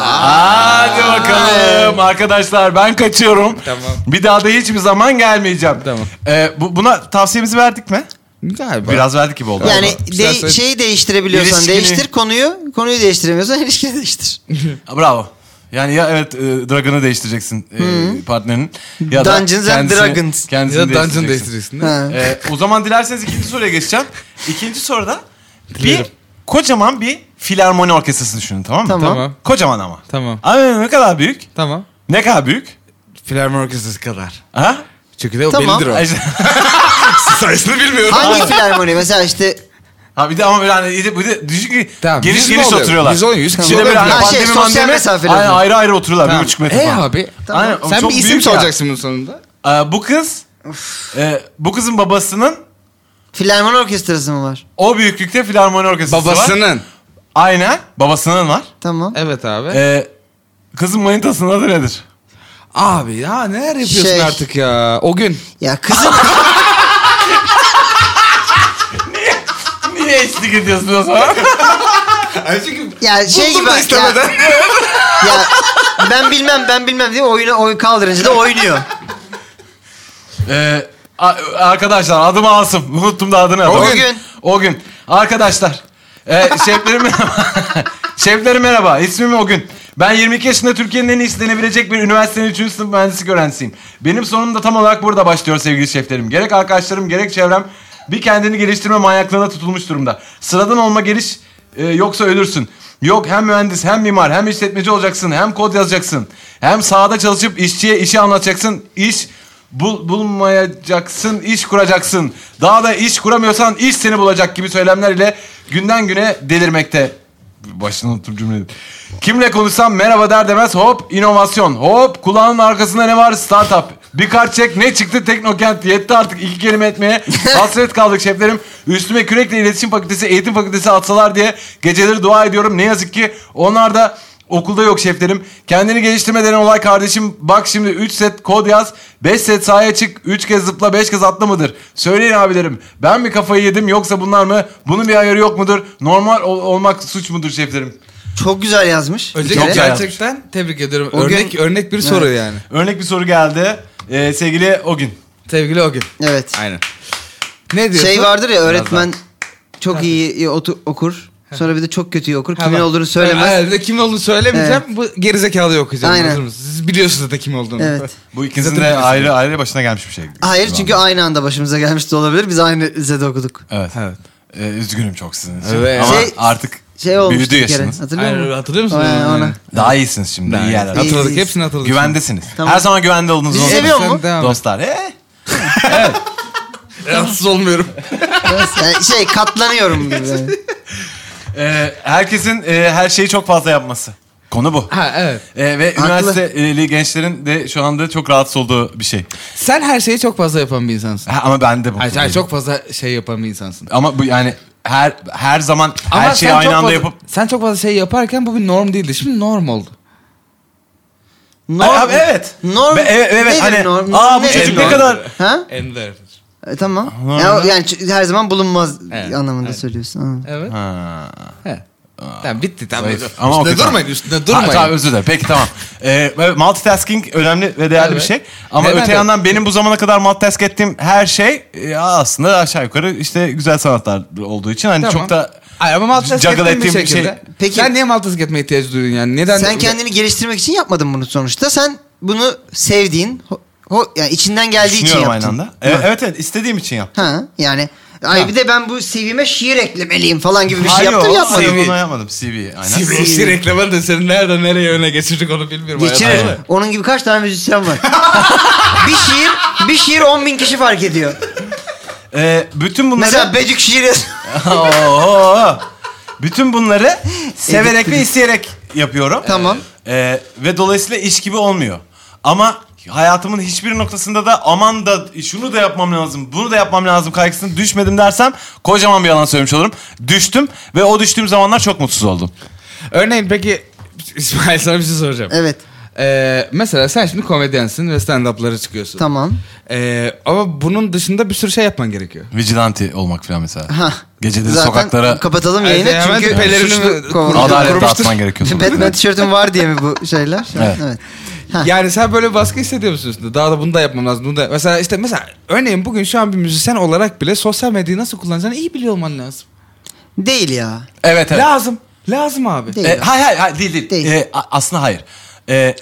Speaker 2: Hadi bakalım arkadaşlar ben kaçıyorum.
Speaker 3: Tamam.
Speaker 2: Bir daha da hiçbir zaman gelmeyeceğim.
Speaker 3: Tamam.
Speaker 2: Ee, bu, buna tavsiyemizi verdik mi?
Speaker 3: Galiba.
Speaker 2: Biraz verdik gibi oldu.
Speaker 4: Yani
Speaker 3: Tamam.
Speaker 4: de-
Speaker 3: İstersen-
Speaker 4: şeyi değiştirebiliyorsan
Speaker 2: İlişkini-
Speaker 4: değiştir konuyu. Konuyu değiştiremiyorsan ilişkini değiştir.
Speaker 2: Ama. Bravo. Yani ya evet e, Dragon'ı değiştireceksin e, partnerinin. Ya da
Speaker 4: Dungeons and
Speaker 2: kendisini-
Speaker 4: Dragons.
Speaker 2: Kendisini
Speaker 3: Ya da dungeon
Speaker 2: değiştireceksin.
Speaker 3: değiştirirsin. değil mi?
Speaker 4: Ha.
Speaker 2: Ee, o zaman dilerseniz ikinci soruya geçeceğim. İkinci soruda bir
Speaker 3: Dilerim.
Speaker 2: kocaman bir filarmoni orkestrası düşünün tamam mı?
Speaker 4: Tamam.
Speaker 3: Tamam.
Speaker 2: Kocaman ama.
Speaker 3: Tamam.
Speaker 2: Ama ne kadar büyük?
Speaker 3: Tamam.
Speaker 2: Ne kadar büyük?
Speaker 3: Filarmoni orkestrası kadar.
Speaker 2: Ha?
Speaker 3: Çünkü de o
Speaker 4: Tamam.
Speaker 3: bellidir o.
Speaker 2: Ay, işte-
Speaker 3: Sayısını bilmiyorum.
Speaker 4: Hangi filarmoni mesela işte
Speaker 2: ha bir de ama böyle hani bir de, bir de düşün ki
Speaker 3: Tamam,
Speaker 2: geniş
Speaker 3: yüz mü
Speaker 2: geniş
Speaker 3: oluyor?
Speaker 2: oturuyorlar.
Speaker 3: Yüz oluyor, yüz kişi
Speaker 2: Bir de böyle
Speaker 3: oluyor.
Speaker 2: hani
Speaker 4: Ha, şey,
Speaker 2: pandemi
Speaker 4: sosyal
Speaker 2: mandemi,
Speaker 4: mesafeli
Speaker 2: aynen,
Speaker 4: oluyor.
Speaker 2: ayrı ayrı oturuyorlar
Speaker 3: Tamam.
Speaker 2: bir buçuk metre
Speaker 3: E
Speaker 2: falan.
Speaker 3: abi.
Speaker 4: Tamam.
Speaker 2: Aynen, o
Speaker 3: Sen
Speaker 2: çok
Speaker 3: bir isim
Speaker 2: büyük ya.
Speaker 3: soracaksın bunun sonunda.
Speaker 2: Ee, bu kız e, bu kızın babasının
Speaker 4: filarmoni orkestrası mı var?
Speaker 2: o büyüklükte filarmoni orkestrası var.
Speaker 3: Babasının.
Speaker 2: Aynen. Babasının var.
Speaker 4: Tamam.
Speaker 3: Evet abi.
Speaker 2: Ee, kızın manitasının adı nedir?
Speaker 3: Abi ya neler yapıyorsun
Speaker 4: Şey.
Speaker 3: artık ya? O gün.
Speaker 4: Ya kızın
Speaker 2: Niye eşlik ediyorsun o zaman?
Speaker 3: çünkü
Speaker 4: ya şey gibi ya, ya ben bilmem ben bilmem diye oyuna oy kaldırınca da oynuyor.
Speaker 2: Ee, a- arkadaşlar adım Asım. Unuttum da adını.
Speaker 4: O
Speaker 2: O
Speaker 4: gün.
Speaker 2: O gün. Arkadaşlar. E, şeflerim merhaba. şeflerim merhaba. İsmim O gün. Ben 22 yaşında Türkiye'nin en iyisi denebilecek bir üniversitenin 3. sınıf mühendislik öğrencisiyim. Benim sorunum da tam olarak burada başlıyor sevgili şeflerim. Gerek arkadaşlarım gerek çevrem bir kendini geliştirme manyaklığına tutulmuş durumda. Sıradan olma geliş e, yoksa ölürsün. Yok hem mühendis hem mimar hem işletmeci olacaksın hem kod yazacaksın. Hem sahada çalışıp işçiye işi anlatacaksın. İş Bul, bulmayacaksın, iş kuracaksın. Daha da iş kuramıyorsan iş seni bulacak gibi söylemler ile günden güne delirmekte. Başını unuttum cümleyi. Kimle konuşsam merhaba der demez hop inovasyon. Hop kulağının arkasında ne var startup. Bir kart çek ne çıktı Teknokent yetti artık iki kelime etmeye hasret kaldık şeflerim. Üstüme kürekle iletişim fakültesi eğitim fakültesi atsalar diye geceleri dua ediyorum. Ne yazık ki onlar da okulda yok şeflerim. Kendini geliştirme denen olay kardeşim. Bak şimdi 3 set kod yaz 5 set sahaya çık 3 kez zıpla 5 kez atla mıdır? Söyleyin abilerim ben mi kafayı yedim yoksa bunlar mı? Bunun bir ayarı yok mudur? Normal ol- olmak suç mudur şeflerim?
Speaker 4: Çok güzel yazmış. bir
Speaker 3: Öncelikle
Speaker 4: kere.
Speaker 2: güzel.
Speaker 3: gerçekten tebrik ediyorum.
Speaker 4: O
Speaker 3: örnek
Speaker 4: gün-
Speaker 3: örnek bir soru
Speaker 4: Evet.
Speaker 3: yani.
Speaker 2: Örnek bir soru geldi. Ee, sevgili Ogün.
Speaker 3: Sevgili o gün.
Speaker 4: Evet.
Speaker 3: Aynen. Ne diyorsun?
Speaker 4: Şey vardır ya
Speaker 3: Biraz
Speaker 4: öğretmen
Speaker 3: daha.
Speaker 4: çok iyi otu- okur. Sonra bir de çok kötü okur.
Speaker 3: Ha,
Speaker 4: Kimin
Speaker 3: bak.
Speaker 4: olduğunu söylemez.
Speaker 3: Herhalde kim olduğunu söylemeyeceğim. Bu gerizekalı okuyacağım.
Speaker 4: Aynen.
Speaker 3: Hazır mısınız? Siz biliyorsunuz da kim olduğunu.
Speaker 4: Evet.
Speaker 2: Bu ikisinin
Speaker 3: Zaten
Speaker 2: de
Speaker 3: biliyorsun.
Speaker 2: ayrı ayrı başına gelmiş bir şey.
Speaker 4: Hayır
Speaker 2: Şu
Speaker 4: çünkü
Speaker 2: anda.
Speaker 4: aynı anda başımıza gelmiş de olabilir. Biz aynı lisede okuduk.
Speaker 2: Evet.
Speaker 3: Evet.
Speaker 2: Ee, üzgünüm çok sizin için.
Speaker 3: Evet.
Speaker 2: Ama
Speaker 4: Şey-
Speaker 2: artık
Speaker 4: Şey olmuş
Speaker 2: büyüdü
Speaker 4: bir kere.
Speaker 2: yaşınız.
Speaker 4: Hatırlıyor
Speaker 3: Aynen,
Speaker 4: musun?
Speaker 3: hatırlıyor musun?
Speaker 4: Aynen,
Speaker 3: Aynen.
Speaker 4: ona.
Speaker 2: Daha iyisiniz şimdi. iyi yerler.
Speaker 4: İyi.
Speaker 3: Hatırladık. Hepsini hatırladık.
Speaker 2: Güvendesiniz.
Speaker 4: Tamam.
Speaker 2: Her zaman güvende olduğunuzu
Speaker 4: Bizi
Speaker 2: unutmayın.
Speaker 4: seviyor
Speaker 3: Sen
Speaker 4: mu?
Speaker 3: devam et.
Speaker 2: Dostlar. Ee?
Speaker 3: Rahatsız olmuyorum.
Speaker 4: Yani şey katlanıyorum gibi.
Speaker 2: Ee, herkesin e, her şeyi çok fazla yapması. Konu bu.
Speaker 3: ha evet.
Speaker 2: Ee, ve
Speaker 4: Haklı.
Speaker 2: üniversiteli gençlerin de şu anda çok rahatsız olduğu bir şey.
Speaker 3: Sen her şeyi çok fazla yapan bir insansın.
Speaker 2: Ha, ama ben de bu.
Speaker 3: Hayır, hayır, çok fazla şey yapan bir insansın.
Speaker 2: Ama bu yani her her zaman her
Speaker 3: Ama
Speaker 2: şeyi
Speaker 3: sen
Speaker 2: aynı
Speaker 3: çok
Speaker 2: anda
Speaker 3: fazla-
Speaker 2: yapıp
Speaker 3: Sen çok fazla şey yaparken bu bir norm değildi. Şimdi norm oldu.
Speaker 4: Norm,
Speaker 2: Ay, abi, evet.
Speaker 4: Norm,
Speaker 2: Be- evet, evet,
Speaker 4: nedir
Speaker 2: hani,
Speaker 4: norm?
Speaker 2: aa, bu
Speaker 4: Nedir
Speaker 2: çocuk
Speaker 3: ne
Speaker 4: norm?
Speaker 2: kadar-
Speaker 4: Ha?
Speaker 3: Ender.
Speaker 4: E, tamam.
Speaker 2: Norm
Speaker 4: Ya,
Speaker 2: ne?
Speaker 4: yani ç- her zaman bulunmaz
Speaker 3: Evet,
Speaker 4: anlamında
Speaker 3: evet.
Speaker 4: söylüyorsun. Ha.
Speaker 3: Evet.
Speaker 2: Ha.
Speaker 3: He. Tamam bitti tamam.
Speaker 2: Zayıf. Ama o
Speaker 3: üstüne
Speaker 2: kötü.
Speaker 3: durmayın üstüne
Speaker 2: Ha,
Speaker 3: durmayın.
Speaker 2: tamam özür dilerim. Peki tamam. Ee, böyle multitasking önemli ve değerli
Speaker 3: Evet.
Speaker 2: bir şey. Ama
Speaker 3: Neden
Speaker 2: öte
Speaker 3: de-
Speaker 2: yandan benim bu zamana kadar multitask ettiğim her şey e, aslında aşağı yukarı işte güzel sanatlar olduğu için hani
Speaker 3: Tamam.
Speaker 2: çok da
Speaker 3: Hayır, ama multitask
Speaker 2: juggle
Speaker 3: ettiğim bir
Speaker 2: ettiğim bir
Speaker 3: şekilde.
Speaker 2: şey-
Speaker 4: Peki-
Speaker 3: Sen niye multitask etmeye ihtiyacı duyuyorsun yani? Neden?
Speaker 4: Sen kendini geliştirmek için yapmadın bunu sonuçta. Sen bunu sevdiğin, ho, ho- yani içinden geldiği için
Speaker 2: düşünüyorum
Speaker 4: yaptın.
Speaker 2: aynı anda. E, evet evet istediğim için yaptım.
Speaker 4: Ha yani ay bir de ben bu CV'me şiir eklemeliyim falan gibi bir şey
Speaker 2: Hayır,
Speaker 4: yaptım
Speaker 2: o
Speaker 4: yapmadım.
Speaker 2: CV.
Speaker 3: CV.
Speaker 2: Onu yapmadım CV aynen.
Speaker 3: CV
Speaker 4: Sivri.
Speaker 3: işi reklamı da seni nereden nereye öne geçirdik onu bilmiyorum.
Speaker 4: Geçirir.
Speaker 3: hayatım.
Speaker 4: Onun gibi kaç tane müzisyen var? bir şiir, bir şiir 10 bin kişi fark ediyor.
Speaker 2: Ee, bütün bunları...
Speaker 4: Mesela Becik şiir yaz.
Speaker 2: Oo. bütün bunları severek ve isteyerek yapıyorum.
Speaker 4: Tamam.
Speaker 2: Ee, ve dolayısıyla iş gibi olmuyor. Ama hayatımın hiçbir noktasında da aman da şunu da yapmam lazım, bunu da yapmam lazım kaygısını düşmedim dersem kocaman bir yalan söylemiş olurum. Düştüm ve o düştüğüm zamanlar çok mutsuz oldum.
Speaker 3: Örneğin peki İsmail sana bir şey soracağım.
Speaker 4: evet.
Speaker 3: Ee, mesela sen şimdi komedyensin ve stand-up'lara çıkıyorsun.
Speaker 4: Tamam.
Speaker 3: Ee, ama bunun dışında bir sürü şey yapman gerekiyor.
Speaker 2: Vigilante olmak falan mesela.
Speaker 4: Ha.
Speaker 2: Geceleri
Speaker 4: Zaten
Speaker 2: sokaklara
Speaker 4: kapatalım
Speaker 3: Hayır,
Speaker 4: yayını
Speaker 3: hemen
Speaker 4: çünkü
Speaker 3: pelerini
Speaker 4: suçlu
Speaker 3: mi-
Speaker 4: kovalıyor.
Speaker 3: Adalet
Speaker 2: adalet
Speaker 3: kurmuştur.
Speaker 2: dağıtman gerekiyor.
Speaker 4: Şimdi Batman tişörtüm var diye mi bu şeyler?
Speaker 2: Evet.
Speaker 4: Ha.
Speaker 3: Yani sen böyle baskı hissediyor musun üstünde? Daha da bunu da yapmam lazım. Bunu da... Mesela işte mesela örneğin bugün şu an bir müzisyen olarak bile sosyal medyayı nasıl kullanacağını iyi biliyor olman lazım.
Speaker 4: Değil ya.
Speaker 2: Evet evet.
Speaker 3: Lazım. Lazım abi.
Speaker 4: Değil.
Speaker 2: E, hayır hayır hayır, değil değil.
Speaker 4: Değil.
Speaker 2: E, a- aslında hayır. E,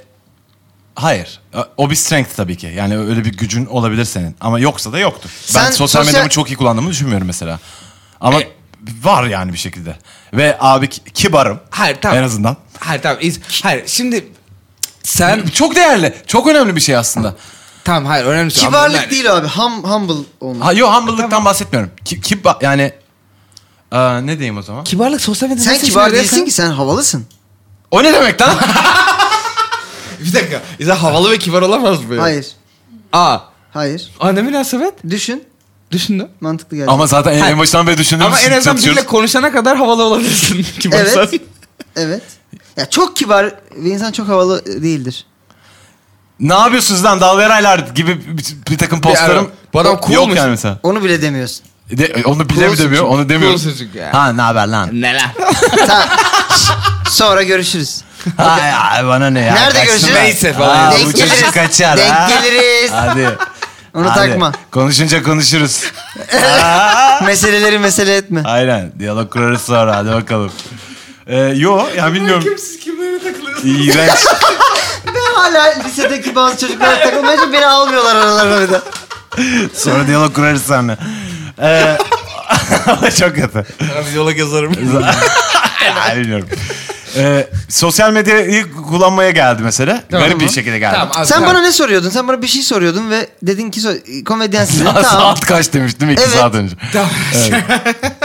Speaker 2: hayır. E, O bir strength tabii ki. Yani öyle bir gücün olabilir senin. Ama yoksa da yoktur. ben
Speaker 4: Sen
Speaker 2: sosyal,
Speaker 4: sosyal-
Speaker 2: medyamı çok iyi kullandığımı düşünmüyorum mesela. Ama
Speaker 3: E-
Speaker 2: var yani bir şekilde. Ve abi ki- kibarım.
Speaker 3: Hayır tamam.
Speaker 2: En azından.
Speaker 3: Hayır tamam. İz- Hayır şimdi sen
Speaker 2: Çok değerli. Çok önemli bir şey aslında.
Speaker 3: tamam hayır önemli. şey.
Speaker 4: Kibarlık
Speaker 3: Ama-
Speaker 4: değil abi. Hum, humble olmak.
Speaker 2: Ha, yo humble'lıktan bahsetmiyorum. Ki, kiba, yani Aa, ne diyeyim o zaman?
Speaker 3: Kibarlık sosyal medyada
Speaker 4: Sen
Speaker 3: nasıl
Speaker 4: kibar
Speaker 3: işler
Speaker 4: değilsin
Speaker 3: ya?
Speaker 4: ki sen havalısın.
Speaker 2: O ne demek lan?
Speaker 3: Bir dakika. İzle havalı ve kibar olamaz mı? ya?
Speaker 4: Hayır.
Speaker 3: Aa.
Speaker 4: Hayır.
Speaker 3: Aa ne münasebet?
Speaker 4: Düşün.
Speaker 3: Düşündüm.
Speaker 4: Mantıklı geldi.
Speaker 2: Ama zaten en- en
Speaker 3: Hayır.
Speaker 2: baştan beri düşündüğümüz
Speaker 3: Ama en
Speaker 2: için
Speaker 3: azından
Speaker 2: çatışıyoruz.
Speaker 3: bizimle konuşana kadar havalı olabilirsin kibarsan.
Speaker 4: Evet. Evet. Ya çok kibar ve insan çok havalı değildir.
Speaker 2: Ne yapıyorsunuz lan dalgalaraylar gibi bir, bir takım
Speaker 3: ara-
Speaker 2: postlarım
Speaker 3: bana cool
Speaker 2: yok
Speaker 3: musun?
Speaker 2: yani mesela.
Speaker 4: Onu bile demiyorsun.
Speaker 2: De, e, onu bile mi
Speaker 4: Coolsun
Speaker 2: demiyor?
Speaker 3: çünkü.
Speaker 2: Onu demiyorum.
Speaker 3: Coolsun çünkü ya.
Speaker 2: Ha ne haber lan?
Speaker 3: Neler?
Speaker 4: tamam. Sonra görüşürüz.
Speaker 2: Ay, ay, bana ne ya?
Speaker 4: Nerede
Speaker 2: Kaçtı
Speaker 4: görüşürüz?
Speaker 2: ben.
Speaker 3: Neyse falan.
Speaker 2: Aa,
Speaker 3: Denk
Speaker 2: bu çocuk
Speaker 4: geliriz.
Speaker 2: kaçar.
Speaker 4: Denk
Speaker 2: ha?
Speaker 4: geliriz.
Speaker 2: Hadi.
Speaker 4: Onu
Speaker 2: Hadi.
Speaker 4: takma.
Speaker 2: Konuşunca konuşuruz.
Speaker 4: Meseleleri mesele etme.
Speaker 2: Aynen. Diyalog kurarız sonra. Hadi bakalım. Ee, yo ya bilmiyorum.
Speaker 3: Siz kimlere takılıyorsunuz?
Speaker 2: İğrenç.
Speaker 4: Ben hala lisedeki bazı çocuklara takılmaya için beni almıyorlar aralarına bir de.
Speaker 2: Sonra diyalog kurarız sonra. Ee, çok kötü.
Speaker 3: yola yazarım.
Speaker 2: Ya, bilmiyorum. Ee, sosyal medyayı kullanmaya geldi mesela.
Speaker 3: Tamam.
Speaker 2: Garip bir şekilde geldi.
Speaker 3: Tamam, abi,
Speaker 4: Sen
Speaker 3: tamam.
Speaker 4: bana ne soruyordun? Sen bana bir şey soruyordun ve dedin ki so- komedyensin.
Speaker 2: Saat-
Speaker 4: tamam.
Speaker 2: Saat kaç demiştim iki
Speaker 4: Evet.
Speaker 2: saat önce.
Speaker 3: Tamam.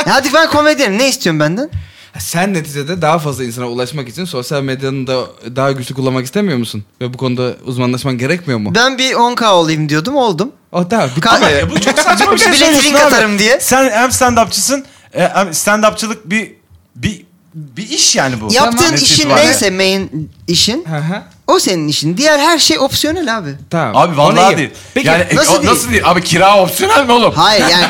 Speaker 4: Hadi ben komedyenim. Ne istiyorsun benden?
Speaker 3: Sen neticede daha fazla insana ulaşmak için sosyal medyanı da daha güçlü kullanmak istemiyor musun? Ve bu konuda uzmanlaşman gerekmiyor mu?
Speaker 4: Ben bir 10K olayım diyordum oldum.
Speaker 3: O da bitti
Speaker 4: Kanka,
Speaker 3: mi?
Speaker 2: Ya bu çok saçma bir şey
Speaker 4: Bile
Speaker 2: söylüyorsun
Speaker 4: drink
Speaker 2: abi.
Speaker 4: atarım diye.
Speaker 2: Sen hem stand-upçısın e, hem stand-upçılık bir, bir, bir iş yani bu.
Speaker 4: Yaptığın
Speaker 2: Netice
Speaker 4: işin
Speaker 2: itibariyle.
Speaker 4: neyse main işin
Speaker 3: Hı hı.
Speaker 4: o senin işin. Diğer her şey opsiyonel abi.
Speaker 3: Tamam.
Speaker 2: Abi
Speaker 3: Ona iyi.
Speaker 2: vallahi değil.
Speaker 3: Peki
Speaker 2: yani, e,
Speaker 4: nasıl
Speaker 2: o-
Speaker 4: değil?
Speaker 2: nasıl değil? Abi kira opsiyonel mi oğlum?
Speaker 4: Hayır yani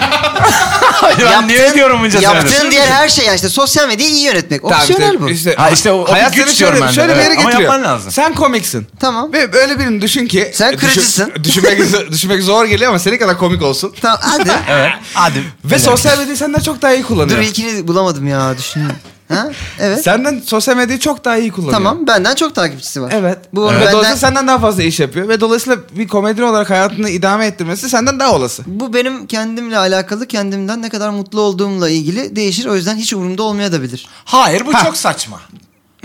Speaker 2: Hayır, ben niye diyorum bunca senedir?
Speaker 4: yaptığın diğer her şey yani işte sosyal medyayı iyi yönetmek.
Speaker 3: Tamam,
Speaker 4: Opsiyonel
Speaker 3: işte-
Speaker 4: bu.
Speaker 3: Işte,
Speaker 2: Ha, işte o- o bir
Speaker 3: hayat
Speaker 2: güç
Speaker 3: seni
Speaker 2: diyorum
Speaker 3: şöyle,
Speaker 2: ben de,
Speaker 3: şöyle bir
Speaker 2: evet.
Speaker 3: yere
Speaker 2: Ama
Speaker 3: getiriyor.
Speaker 2: yapman lazım.
Speaker 3: Sen komiksin.
Speaker 4: Tamam.
Speaker 3: Ve böyle birini düşün ki. e,
Speaker 4: Sen
Speaker 3: düşün-
Speaker 4: kırıcısın.
Speaker 3: düşünmek, düşünmek zor geliyor ama senin kadar komik olsun.
Speaker 4: Tamam hadi.
Speaker 2: Evet. Hadi.
Speaker 3: Ve sosyal medyayı senden çok daha iyi
Speaker 4: Dur
Speaker 3: kullanıyor.
Speaker 4: ilkini bulamadım ya düşünüyorum. Ha? Evet.
Speaker 3: Senden sosyal medyayı çok daha iyi kullanıyor.
Speaker 4: Tamam benden çok takipçisi var.
Speaker 3: Evet.
Speaker 4: Bu
Speaker 3: Ve
Speaker 4: benden
Speaker 3: dolayısıyla senden daha fazla iş yapıyor. Ve dolayısıyla bir komedyen olarak hayatını idame ettirmesi senden daha olası.
Speaker 4: bu benim kendimle alakalı kendimden ne kadar mutlu olduğumla ilgili değişir. O yüzden hiç umurumda olmayabilir.
Speaker 2: Hayır bu
Speaker 3: Ha.
Speaker 2: çok saçma.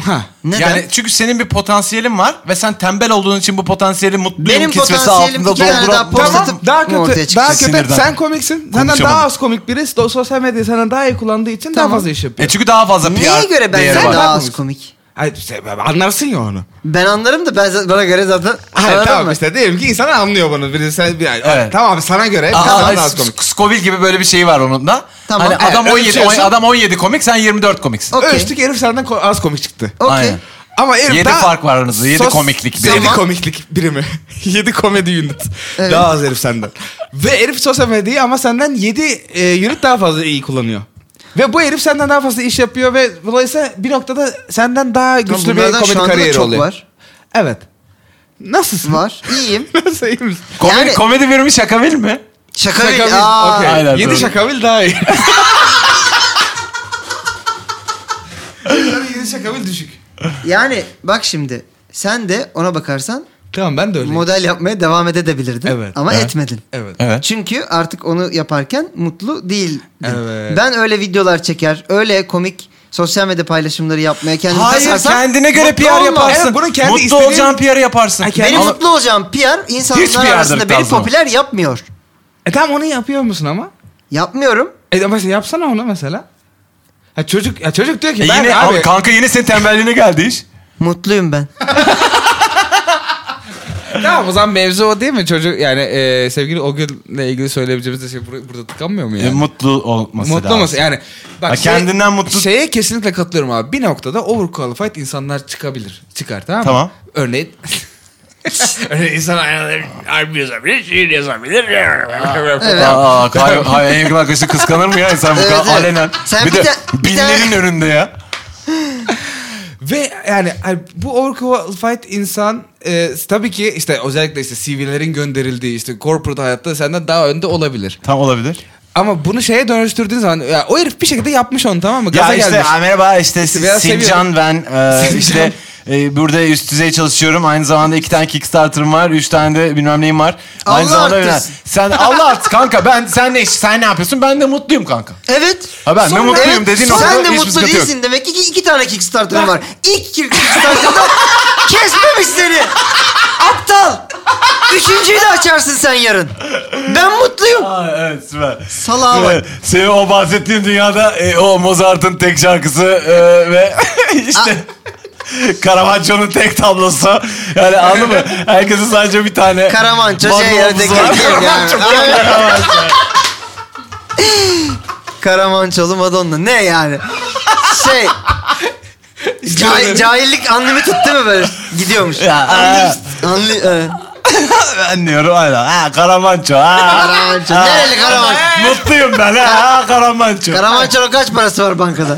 Speaker 3: Ha.
Speaker 4: Neden?
Speaker 2: Yani çünkü senin bir potansiyelin var ve sen tembel olduğun için bu potansiyeli mutluyum
Speaker 4: Benim
Speaker 2: kisvesi
Speaker 4: potansiyelim
Speaker 2: altında
Speaker 4: iki tane
Speaker 2: dolduran...
Speaker 4: daha post
Speaker 3: Tamam.
Speaker 4: atıp
Speaker 3: Daha
Speaker 4: mı ortaya
Speaker 3: kötü.
Speaker 4: çıkacak?
Speaker 3: Daha kötü.
Speaker 2: Sinirden.
Speaker 3: Sen komiksin. Senden
Speaker 2: Konuşamadım.
Speaker 3: daha az komik biri. do- Sosyal medyayı senden daha iyi kullandığı için
Speaker 4: Tamam.
Speaker 3: daha fazla iş
Speaker 2: E
Speaker 3: yapıyor.
Speaker 2: çünkü daha fazla PR
Speaker 4: Neye göre ben
Speaker 2: değeri
Speaker 3: Sen
Speaker 4: daha
Speaker 2: var.
Speaker 3: bak-
Speaker 4: az
Speaker 3: mısın?
Speaker 4: komik?
Speaker 3: Hayır, sen- anlarsın ya onu.
Speaker 4: Ben anlarım da ben zaten- bana göre zaten
Speaker 3: Hayır
Speaker 4: anladın
Speaker 3: tamam
Speaker 4: mı?
Speaker 3: işte diyelim ki insan anlıyor bunu. Birisi sen, bir,
Speaker 2: Evet.
Speaker 3: Tamam sana göre
Speaker 2: Aa,
Speaker 3: tamam
Speaker 2: ay,
Speaker 3: daha az
Speaker 2: S-
Speaker 3: komik.
Speaker 2: Scoville gibi böyle bir şey var onun da.
Speaker 4: E, Tamam. E,
Speaker 2: Hani
Speaker 4: Evet,
Speaker 2: adam 17
Speaker 3: ölçüyorsun.
Speaker 2: adam 17 komik, sen 24 komiksin.
Speaker 4: Okey.
Speaker 3: Ölçtük herif senden ko- az komik çıktı.
Speaker 4: Okey.
Speaker 2: Aynen.
Speaker 3: Ama herif
Speaker 2: Yedi
Speaker 3: daha...
Speaker 2: fark var aranızda, yedi komiklik birimi.
Speaker 3: birimi. Yedi
Speaker 4: Tamam.
Speaker 3: komiklik birimi. yedi komedi unit.
Speaker 4: Evet.
Speaker 3: Daha az herif senden. Ve herif sosyal medyayı ama senden yedi e, unit daha fazla iyi kullanıyor. Ve bu herif senden daha fazla iş yapıyor ve dolayısıyla bir noktada senden daha
Speaker 4: Tamam,
Speaker 3: güçlü bir
Speaker 4: bunlardan şu
Speaker 3: komedi
Speaker 4: anda da
Speaker 3: kariyeri
Speaker 4: çok
Speaker 3: oluyor.
Speaker 4: var.
Speaker 3: Evet. Nasılsın?
Speaker 4: Var. İyiyim.
Speaker 3: Nasıl iyi misin?
Speaker 2: Komedi,
Speaker 4: Yani-
Speaker 2: komedi birimi şaka değil mi?
Speaker 4: Şaka
Speaker 3: Şakavil.
Speaker 4: değil. Aa,
Speaker 3: okey.
Speaker 2: Aynen,
Speaker 3: Yedi
Speaker 2: doğru.
Speaker 3: şakavil daha iyi. Yedi şakavil düşük.
Speaker 4: Yani bak şimdi sen de ona bakarsan
Speaker 3: Tamam ben de öyleyim.
Speaker 4: model yapmaya devam edebilirdin.
Speaker 3: Evet.
Speaker 4: Ama
Speaker 2: Evet.
Speaker 4: etmedin.
Speaker 3: evet.
Speaker 2: Evet.
Speaker 4: Çünkü artık onu yaparken mutlu değildin.
Speaker 3: Evet.
Speaker 4: Ben öyle videolar çeker, öyle komik sosyal medya paylaşımları yapmaya kendimi
Speaker 2: Hayır
Speaker 4: kasarsam
Speaker 2: kendine göre
Speaker 4: mutlu
Speaker 2: PR
Speaker 4: olmam.
Speaker 2: yaparsın.
Speaker 3: Evet, bunu kendi
Speaker 2: Mutlu
Speaker 3: istediğin-
Speaker 2: olacağın PR'ı yaparsın.
Speaker 3: Ay, kendi-
Speaker 4: Benim
Speaker 3: Ama-
Speaker 4: mutlu olacağım PR
Speaker 2: Hiç
Speaker 4: insanlar
Speaker 2: PR'dır
Speaker 4: arasında beni
Speaker 2: tarzı o.
Speaker 4: popüler yapmıyor.
Speaker 3: E tamam onu yapıyor musun ama?
Speaker 4: Yapmıyorum.
Speaker 3: E ama sen yapsana onu mesela. Ha çocuk ya çocuk diyor ki
Speaker 2: E
Speaker 3: ben
Speaker 2: yine,
Speaker 3: abi,
Speaker 2: abi, kanka yine senin tembelliğine geldi iş.
Speaker 4: Mutluyum ben.
Speaker 3: tamam o zaman mevzu o değil mi çocuk yani e, sevgili o günle ilgili söyleyebileceğimiz de şey bur- burada tıkanmıyor mu yani?
Speaker 2: E, mutlu olması
Speaker 3: Mutlu
Speaker 2: lazım.
Speaker 3: musun? Yani bak
Speaker 2: Ha, kendinden mutlu-
Speaker 3: Şeye kesinlikle katılıyorum abi. Bir noktada overqualified insanlar çıkabilir. Çıkar tamam mı?
Speaker 2: Tamam.
Speaker 3: Örneğin Örneğin insan aynaları harbi yazabilir, şiir yazabilir.
Speaker 4: Evet.
Speaker 2: Aa, kay- hayır, en yakın arkadaşı kıskanır mı ya insan bu
Speaker 4: Evet,
Speaker 2: kadar
Speaker 4: evet.
Speaker 2: alenen?
Speaker 4: Sen
Speaker 2: bir,
Speaker 4: bir
Speaker 2: de,
Speaker 4: de- bir de-
Speaker 2: binlerin önünde ya.
Speaker 3: Ve yani hani bu overqualified insan e, tabii ki işte özellikle işte CV'lerin gönderildiği işte corporate hayatta senden daha önde olabilir.
Speaker 2: Tam olabilir.
Speaker 3: Ama bunu şeye dönüştürdüğün zaman ya, o herif bir şekilde yapmış onu tamam mı?
Speaker 2: Ya
Speaker 3: Gaza
Speaker 2: işte
Speaker 3: gelmiş.
Speaker 2: "Aa, merhaba işte,
Speaker 3: İşte biraz
Speaker 2: Sincan ben e,
Speaker 3: Sincan.
Speaker 2: işte e, burada üst düzey çalışıyorum. Aynı zamanda iki tane Kickstarter'ım var. Üç tane de bilmem neyim var. Aynı
Speaker 4: Allah
Speaker 2: zamanda
Speaker 4: artist.
Speaker 2: bilmem- Sen Allah art kanka ben sen ne iş- sen ne yapıyorsun? Ben de mutluyum kanka.
Speaker 4: Evet.
Speaker 2: Ha ben
Speaker 3: Sonra-
Speaker 2: ne mutluyum
Speaker 4: Evet,
Speaker 2: dediğin
Speaker 4: sen
Speaker 2: noktada
Speaker 4: de
Speaker 2: hiçbir
Speaker 4: mutlu
Speaker 2: sıkıntı yok.
Speaker 4: değilsin demek ki iki, iki tane Kickstarter'ın var. İlk iki Kickstarter'da kesmemiş seni. Aptal. Üçüncüyü de açarsın sen yarın. Ben mutluyum.
Speaker 2: Aa, evet süper.
Speaker 4: Salağa bak.
Speaker 2: Evet, Senin o bahsettiğin dünyada e, o Mozart'ın tek şarkısı e, ve işte Caravaggio'nun tek tablosu. Yani anladın mı? Herkesin sadece bir tane
Speaker 4: Karamanço
Speaker 2: bandı
Speaker 4: şey ya,
Speaker 2: omuzu
Speaker 4: tek-
Speaker 2: var.
Speaker 4: yani.
Speaker 2: Karamanço,
Speaker 4: Aynen. Karamançoğlu Madonna ne yani? Şey ca- cahillik unlimited değil mi böyle? Gidiyormuş.
Speaker 2: Ya, aa.
Speaker 4: Unli- e,
Speaker 2: Ben diyorum aynen. Ha Karamanço. Ha.
Speaker 4: Karamanço.
Speaker 2: Ha.
Speaker 4: Nereli Karamanço?
Speaker 2: Mutluyum ben ha, ha Karamanço.
Speaker 4: Karamanço'nun kaç parası var bankada?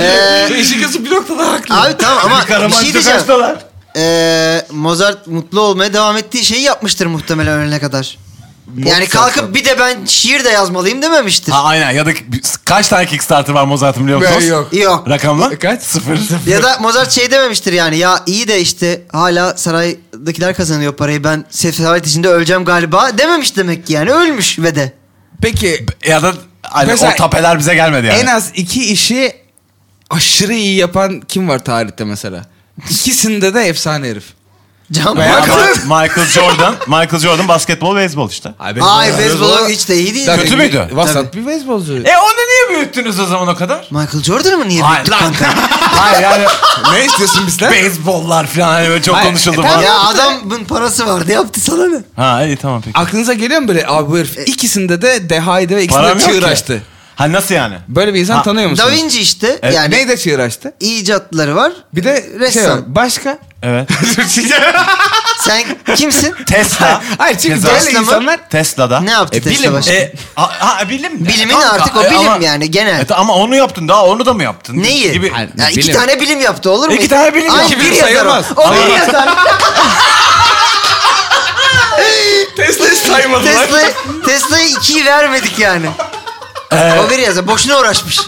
Speaker 4: Ee,
Speaker 3: İşin kızı E, bir noktada haklı.
Speaker 4: abi tamam ama bir şey
Speaker 2: Karamanço
Speaker 4: diyeceğim.
Speaker 2: kaç dolar?
Speaker 4: Ee, Mozart mutlu olmaya devam ettiği şeyi yapmıştır muhtemelen ölene kadar. Yani kalkıp bir de ben şiir de yazmalıyım dememiştir.
Speaker 2: Ha aynen ya da kaç tane Kickstarter var Mozart'ın biliyor musunuz?
Speaker 3: Ben yok.
Speaker 4: Yok.
Speaker 2: Rakamla?
Speaker 3: Kaç?
Speaker 2: Sıfır.
Speaker 4: Ya da Mozart şey dememiştir yani ya iyi de işte hala saraydakiler kazanıyor parayı ben sefalet içinde öleceğim galiba dememiş demek ki yani ölmüş ve de.
Speaker 3: Peki
Speaker 2: Ya da hani
Speaker 3: Mesela-
Speaker 2: o tapeler bize gelmedi yani.
Speaker 3: en az iki işi aşırı iyi yapan kim var tarihte mesela? İkisinde de efsane herif.
Speaker 4: Can
Speaker 3: Veya-
Speaker 4: Bak-
Speaker 2: Ama Michael Jordan, Michael Jordan basketbol, beyzbol işte.
Speaker 3: Ay
Speaker 4: Ay beyzbol hiç de iyi değil.
Speaker 2: Kötü müydü?
Speaker 3: Vasat
Speaker 4: Tabii.
Speaker 3: bir beyzbolcu.
Speaker 2: E onu niye niye büyüttünüz o zaman o kadar?
Speaker 4: Michael Jordan'ı mı niye
Speaker 2: Hayır
Speaker 4: büyüttük
Speaker 2: lan.
Speaker 4: kanka?
Speaker 2: Hayır yani
Speaker 3: ne istiyorsun bizden?
Speaker 2: beyzbollar falan hani böyle çok
Speaker 3: Hayır,
Speaker 2: konuşuldu
Speaker 3: efendim?
Speaker 2: falan.
Speaker 4: ya adamın parası vardı yaptı sana ne?
Speaker 2: Ha iyi tamam peki.
Speaker 3: Aklınıza geliyor mu böyle abi bu
Speaker 4: E-
Speaker 3: herif ikisinde de dehaydı ve ikisinde
Speaker 2: Param
Speaker 3: de
Speaker 2: yok
Speaker 3: çığır
Speaker 2: ki.
Speaker 3: açtı.
Speaker 2: Ha nasıl yani?
Speaker 3: Böyle bir insan
Speaker 2: Ha,
Speaker 3: tanıyor musunuz?
Speaker 4: Da Vinci işte
Speaker 2: Evet,
Speaker 4: yani
Speaker 3: Neyde çığır açtı?
Speaker 4: icatları var.
Speaker 3: Bir de Ressam. şey
Speaker 4: Ressam.
Speaker 3: var, başka?
Speaker 2: Evet.
Speaker 4: Sen kimsin?
Speaker 2: Tesla.
Speaker 3: Hayır çünkü
Speaker 2: Tesla.
Speaker 3: böyle
Speaker 4: Tesla mı?
Speaker 3: insanlar
Speaker 2: Tesla'da.
Speaker 4: Ne yaptı
Speaker 3: E,
Speaker 4: Tesla
Speaker 3: bilim.
Speaker 4: başka?
Speaker 2: E, a- ha, bilim. de.
Speaker 4: Bilimin
Speaker 2: Kanka,
Speaker 4: artık o
Speaker 2: e,
Speaker 4: bilim yani genel.
Speaker 2: E, ama onu yaptın daha onu da mı yaptın?
Speaker 4: Neyi?
Speaker 2: Gibi.
Speaker 3: Hayır.
Speaker 4: Ya iki
Speaker 3: Bilim.
Speaker 4: tane bilim yaptı olur mu?
Speaker 2: İki tane bilim
Speaker 4: Ay,
Speaker 2: yaptı.
Speaker 4: bir
Speaker 2: Bilim
Speaker 4: yazar
Speaker 3: sayılmaz.
Speaker 4: O, o bir yazar.
Speaker 3: Tesla'yı saymadılar.
Speaker 4: Tesla, Tesla'ya ikiyi vermedik yani. o bir yazar. Boşuna uğraşmış.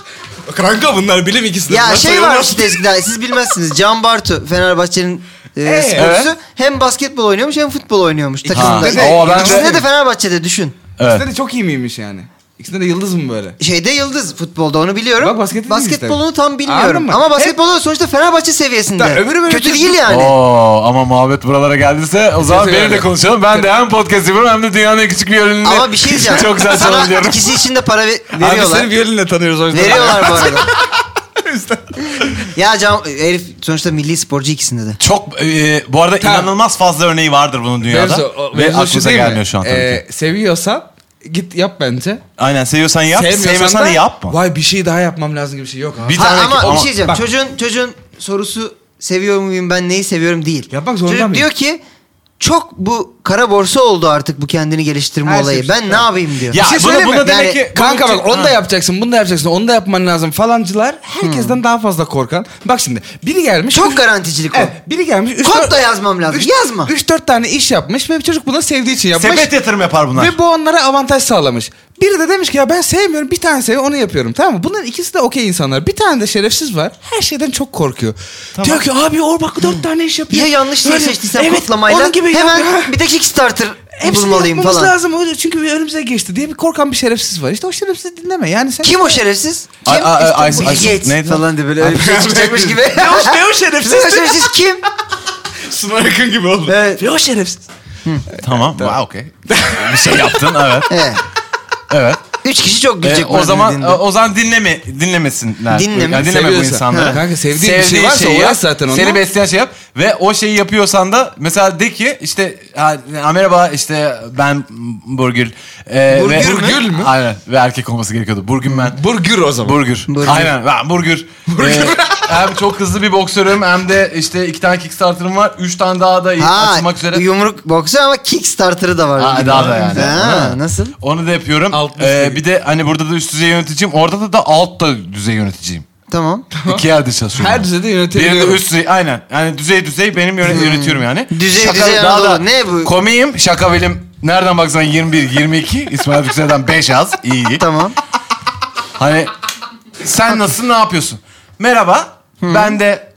Speaker 3: Kanka bunlar bilim ikisi de.
Speaker 4: Ya
Speaker 3: Bunlar
Speaker 4: şey
Speaker 3: sayılmaz.
Speaker 4: var işte eskiden siz bilmezsiniz. Can Bartu Fenerbahçe'nin e,
Speaker 3: Ee,
Speaker 4: sporcusu. Hem basketbol oynuyormuş hem futbol oynuyormuş takımda.
Speaker 3: de-
Speaker 2: o ben
Speaker 4: İkisinde de Fenerbahçe'de düşün.
Speaker 2: Evet.
Speaker 3: İkisinde de çok iyi miymiş yani? İkisinde de yıldız mı böyle?
Speaker 4: Şeyde yıldız futbolda onu biliyorum.
Speaker 3: Bak baskette de
Speaker 4: Basketbolunu
Speaker 3: yıldız.
Speaker 4: tam
Speaker 3: Anladın
Speaker 4: bilmiyorum.
Speaker 3: mı?
Speaker 4: Ama
Speaker 3: Hep-
Speaker 4: basketbolu da sonuçta Fenerbahçe seviyesinde.
Speaker 3: Da, öbürü böyle
Speaker 4: Kötü
Speaker 3: çok-
Speaker 4: değil yani. Şey
Speaker 2: Oo, ama muhabbet buralara geldiyse o zaman
Speaker 3: Sesi
Speaker 2: beni de
Speaker 3: verdi.
Speaker 2: konuşalım. Ben de hem podcast yapıyorum hem de dünyanın en küçük bir yönünü
Speaker 4: Ama bir şey diyeceğim.
Speaker 2: çok güzel
Speaker 4: Sana
Speaker 2: çalıyorum.
Speaker 4: ikisi için de para ve-
Speaker 3: Abi
Speaker 4: veriyorlar.
Speaker 3: seni violinle tanıyoruz o yüzden.
Speaker 4: Veriyorlar bu arada.
Speaker 3: O yüzden.
Speaker 4: ya Can Elif sonuçta milli sporcu ikisinde de.
Speaker 2: Çok e, bu arada
Speaker 3: Tamam.
Speaker 2: inanılmaz fazla örneği vardır bunun dünyada.
Speaker 3: Mevzu, o-
Speaker 2: Ve
Speaker 3: mevzu şu
Speaker 2: aklınıza
Speaker 3: değil mi?
Speaker 2: gelmiyor şu an tabii ki.
Speaker 3: Ee, seviyorsan git yap bence.
Speaker 2: Aynen seviyorsan yap,
Speaker 3: Sevmiyorsan
Speaker 2: sevmiyorsan
Speaker 3: da,
Speaker 2: da yapma.
Speaker 3: Vay bir şey daha yapmam lazım gibi bir şey yok abi.
Speaker 2: Bir
Speaker 4: Ha,
Speaker 2: tane
Speaker 4: ama,
Speaker 2: ama-
Speaker 4: bir şey diyeceğim.
Speaker 3: bak-
Speaker 4: Çocuğun, çocuğun sorusu seviyor muyum ben neyi seviyorum değil.
Speaker 3: Yapmak zorunda
Speaker 4: Çocuk
Speaker 3: mıyım?
Speaker 4: diyor ki çok bu kara borsa oldu artık bu kendini geliştirme
Speaker 3: Her
Speaker 4: olayı.
Speaker 3: şey-
Speaker 4: ben ne yapayım diyor.
Speaker 2: Ya
Speaker 3: şey
Speaker 2: bunu,
Speaker 3: söyleyeyim
Speaker 2: bunu
Speaker 3: mi?
Speaker 2: demek
Speaker 4: Yani-
Speaker 2: ki...
Speaker 3: Kanka
Speaker 2: bunu-
Speaker 3: bak onu da
Speaker 2: Ha.
Speaker 3: yapacaksın, bunu da yapacaksın, onu da yapman lazım falancılar herkesten
Speaker 2: Hmm.
Speaker 3: daha fazla korkan. Bak şimdi biri gelmiş.
Speaker 4: Çok garanticilik o.
Speaker 3: Evet, biri gelmiş. üç,
Speaker 4: Kod
Speaker 3: dört-
Speaker 4: da yazmam lazım.
Speaker 3: Üç,
Speaker 4: Yazma.
Speaker 3: 3-4 tane iş yapmış ve çocuk bunu sevdiği için yapmış.
Speaker 2: Sepet yatırım yapar bunlar.
Speaker 3: Ve bu onlara avantaj sağlamış. Biri de demiş ki ya ben sevmiyorum bir tane seviyor onu yapıyorum tamam mı? Bunların ikisi de okey insanlar. Bir tane de şerefsiz var. Her şeyden çok korkuyor. Diyor ki abi o bak dört tane iş yapıyor.
Speaker 4: Ya yanlış şey
Speaker 3: Öyle-
Speaker 4: seçtiysen
Speaker 3: evet,
Speaker 4: kodlamayla
Speaker 3: onun gibi
Speaker 4: hemen
Speaker 3: yap.
Speaker 4: bir de Kickstarter
Speaker 3: Hepsini
Speaker 4: bulmalıyım
Speaker 3: yapmamız
Speaker 4: falan.
Speaker 3: lazım öyle- çünkü bir önümüze geçti diye bir korkan bir şerefsiz var. İşte o şerefsizi dinleme yani sen...
Speaker 4: Kim o şerefsiz? Kim?
Speaker 2: Ay- ay- ay-
Speaker 4: İşte
Speaker 2: ay-
Speaker 4: Bill Gates
Speaker 2: neydi?
Speaker 4: falan diye böyle öyle bir şey çıkacakmış gibi.
Speaker 3: Ne o, ne o
Speaker 4: Bill Gates
Speaker 3: şerefsiz?
Speaker 4: şerefsiz kim?
Speaker 3: Sınav yakın gibi oldu.
Speaker 4: Evet.
Speaker 3: Ne o şerefsiz?
Speaker 2: Tamam. Wow, okey. bir şey yaptın evet.
Speaker 4: Evet.
Speaker 2: Evet.
Speaker 4: Üç kişi çok
Speaker 2: E,
Speaker 4: gülecek.
Speaker 2: o
Speaker 4: bana
Speaker 2: zaman
Speaker 4: dediğinde.
Speaker 2: o zaman dinleme dinlemesinler.
Speaker 4: Dinleme.
Speaker 2: Yani dinleme bu
Speaker 3: Seviyorsa.
Speaker 2: insanları.
Speaker 3: Ha. Kanka sevdiğin bir şey varsa
Speaker 2: şeyi
Speaker 3: uğraş
Speaker 2: yap,
Speaker 3: zaten onunla.
Speaker 2: Seni besleyen şey yap ve o şeyi yapıyorsan da mesela de ki işte ha, ha, merhaba işte ben Burgül. E,
Speaker 4: Burgül
Speaker 2: ve,
Speaker 4: mü?
Speaker 3: Burgül mü?
Speaker 2: Aynen ve erkek olması gerekiyordu. Burgül ben.
Speaker 3: Burgür o zaman.
Speaker 2: Burgür.
Speaker 4: Burgür.
Speaker 2: Aynen ben Burgür. Ee, hem çok hızlı bir boksörüm hem de işte iki tane Kickstarter'ım var. Üç tane daha da
Speaker 4: Ha,
Speaker 2: açmak üzere.
Speaker 4: Yumruk boksu ama Kickstarter'ı da var.
Speaker 2: Ha,
Speaker 4: gibi.
Speaker 2: daha da yani.
Speaker 4: Ha, nasıl?
Speaker 2: Onu da yapıyorum.
Speaker 3: Alt
Speaker 2: Ee,
Speaker 3: düzey.
Speaker 2: bir de hani burada da üst düzey yöneticiyim. Orada da, da alt da düzey yöneticiyim.
Speaker 4: Tamam.
Speaker 2: İki yerde çalışıyorum.
Speaker 3: Her düzeyde
Speaker 2: Birinde
Speaker 3: yönetebiliyorum.
Speaker 2: üst düzey aynen. Yani düzey düzey benim yöne- yönetiyorum yani.
Speaker 4: Hmm. Düzey düzey
Speaker 2: daha
Speaker 4: Anadolu.
Speaker 2: da
Speaker 4: Ne bu?
Speaker 2: Komiyim. Şaka benim. Nereden baksan 21, 22. İsmail Yüksel'den 5 az. İyi.
Speaker 4: Tamam.
Speaker 2: Hani sen nasılsın ne yapıyorsun? Merhaba. Ben de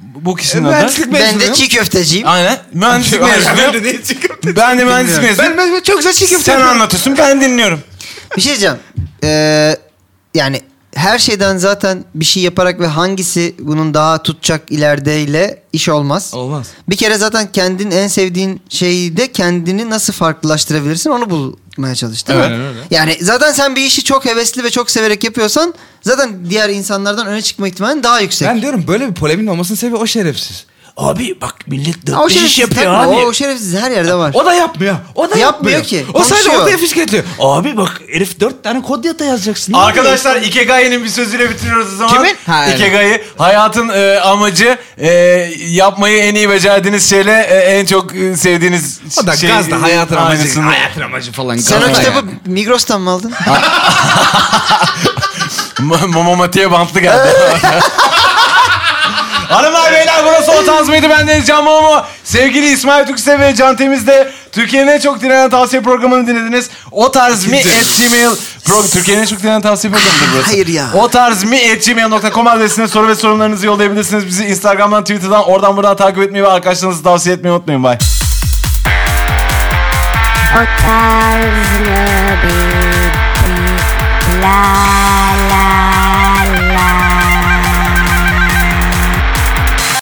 Speaker 2: bu kişinin adı.
Speaker 3: Mühendislik
Speaker 4: Hmm. E, ben de
Speaker 3: mezunuyum.
Speaker 4: çiğ köfteciyim.
Speaker 2: Aynen. Mühendislik mezunuyum.
Speaker 3: de niye çıkıyorum?
Speaker 2: Ben de mühendislik
Speaker 3: Ben,
Speaker 2: mezunuyum.
Speaker 3: ben, ben çok güzel çekim.
Speaker 2: Sen anlatıyorsun ben dinliyorum.
Speaker 4: Bir şey diyeceğim. Ee, yani her şeyden zaten bir şey yaparak ve hangisi bunun daha tutacak ilerideyle iş olmaz.
Speaker 3: Olmaz.
Speaker 4: Bir kere zaten kendin en sevdiğin şeyde kendini nasıl farklılaştırabilirsin onu bulmaya çalış değil mi?
Speaker 2: Evet.
Speaker 3: öyle.
Speaker 4: Yani zaten sen bir işi çok hevesli ve çok severek yapıyorsan zaten diğer insanlardan öne çıkma ihtimalin daha yüksek.
Speaker 3: Ben diyorum böyle bir polemin olmasının sebebi o şerefsiz. Abi bak millet
Speaker 4: Ha, o şerefsiz takma, O şerefsiz her yerde var.
Speaker 3: O da yapmıyor. O da
Speaker 4: Yapmıyor
Speaker 3: yapmıyor,
Speaker 4: ki,
Speaker 3: O sadece
Speaker 4: konuşuyor.
Speaker 3: ortaya fişketiyor. Abi bak herif dört tane kod yata yazacaksın. Ne
Speaker 2: Arkadaşlar Ikegai'nin bir sözüyle bitiriyoruz o zaman.
Speaker 3: Kimin? Ha, evet.
Speaker 2: Ikigai hayatın e, amacı e, yapmayı en iyi becerdiğiniz şeyle e, en çok e, sevdiğiniz
Speaker 3: yapıyorsun? O da
Speaker 2: şey.
Speaker 3: gazda hayatın amacı.
Speaker 2: aynısını.
Speaker 3: Hayatın amacı falan.
Speaker 4: Sen o
Speaker 3: gazda
Speaker 4: kitabı
Speaker 3: yani.
Speaker 4: Migros'tan mı aldın?
Speaker 2: Ma- Mama Mati'ye bantlı geldi. Hanımlar beyler burası o tarz mıydı? Ben Deniz Can Momo. Sevgili İsmail Türkse ve Can Temiz'de Türkiye'nin en çok dinlenen tavsiye programını dinlediniz. O tarz mi at gmail. Pro- Türkiye'nin en çok dinlenen tavsiye programıdır burası.
Speaker 4: Hayır ya.
Speaker 2: O tarz mi at gmail.com adresine soru ve sorunlarınızı yollayabilirsiniz. Bizi Instagram'dan, Twitter'dan, oradan buradan takip etmeyi ve arkadaşlarınızı tavsiye etmeyi unutmayın. Bye.
Speaker 1: O tarz mı bitti? La la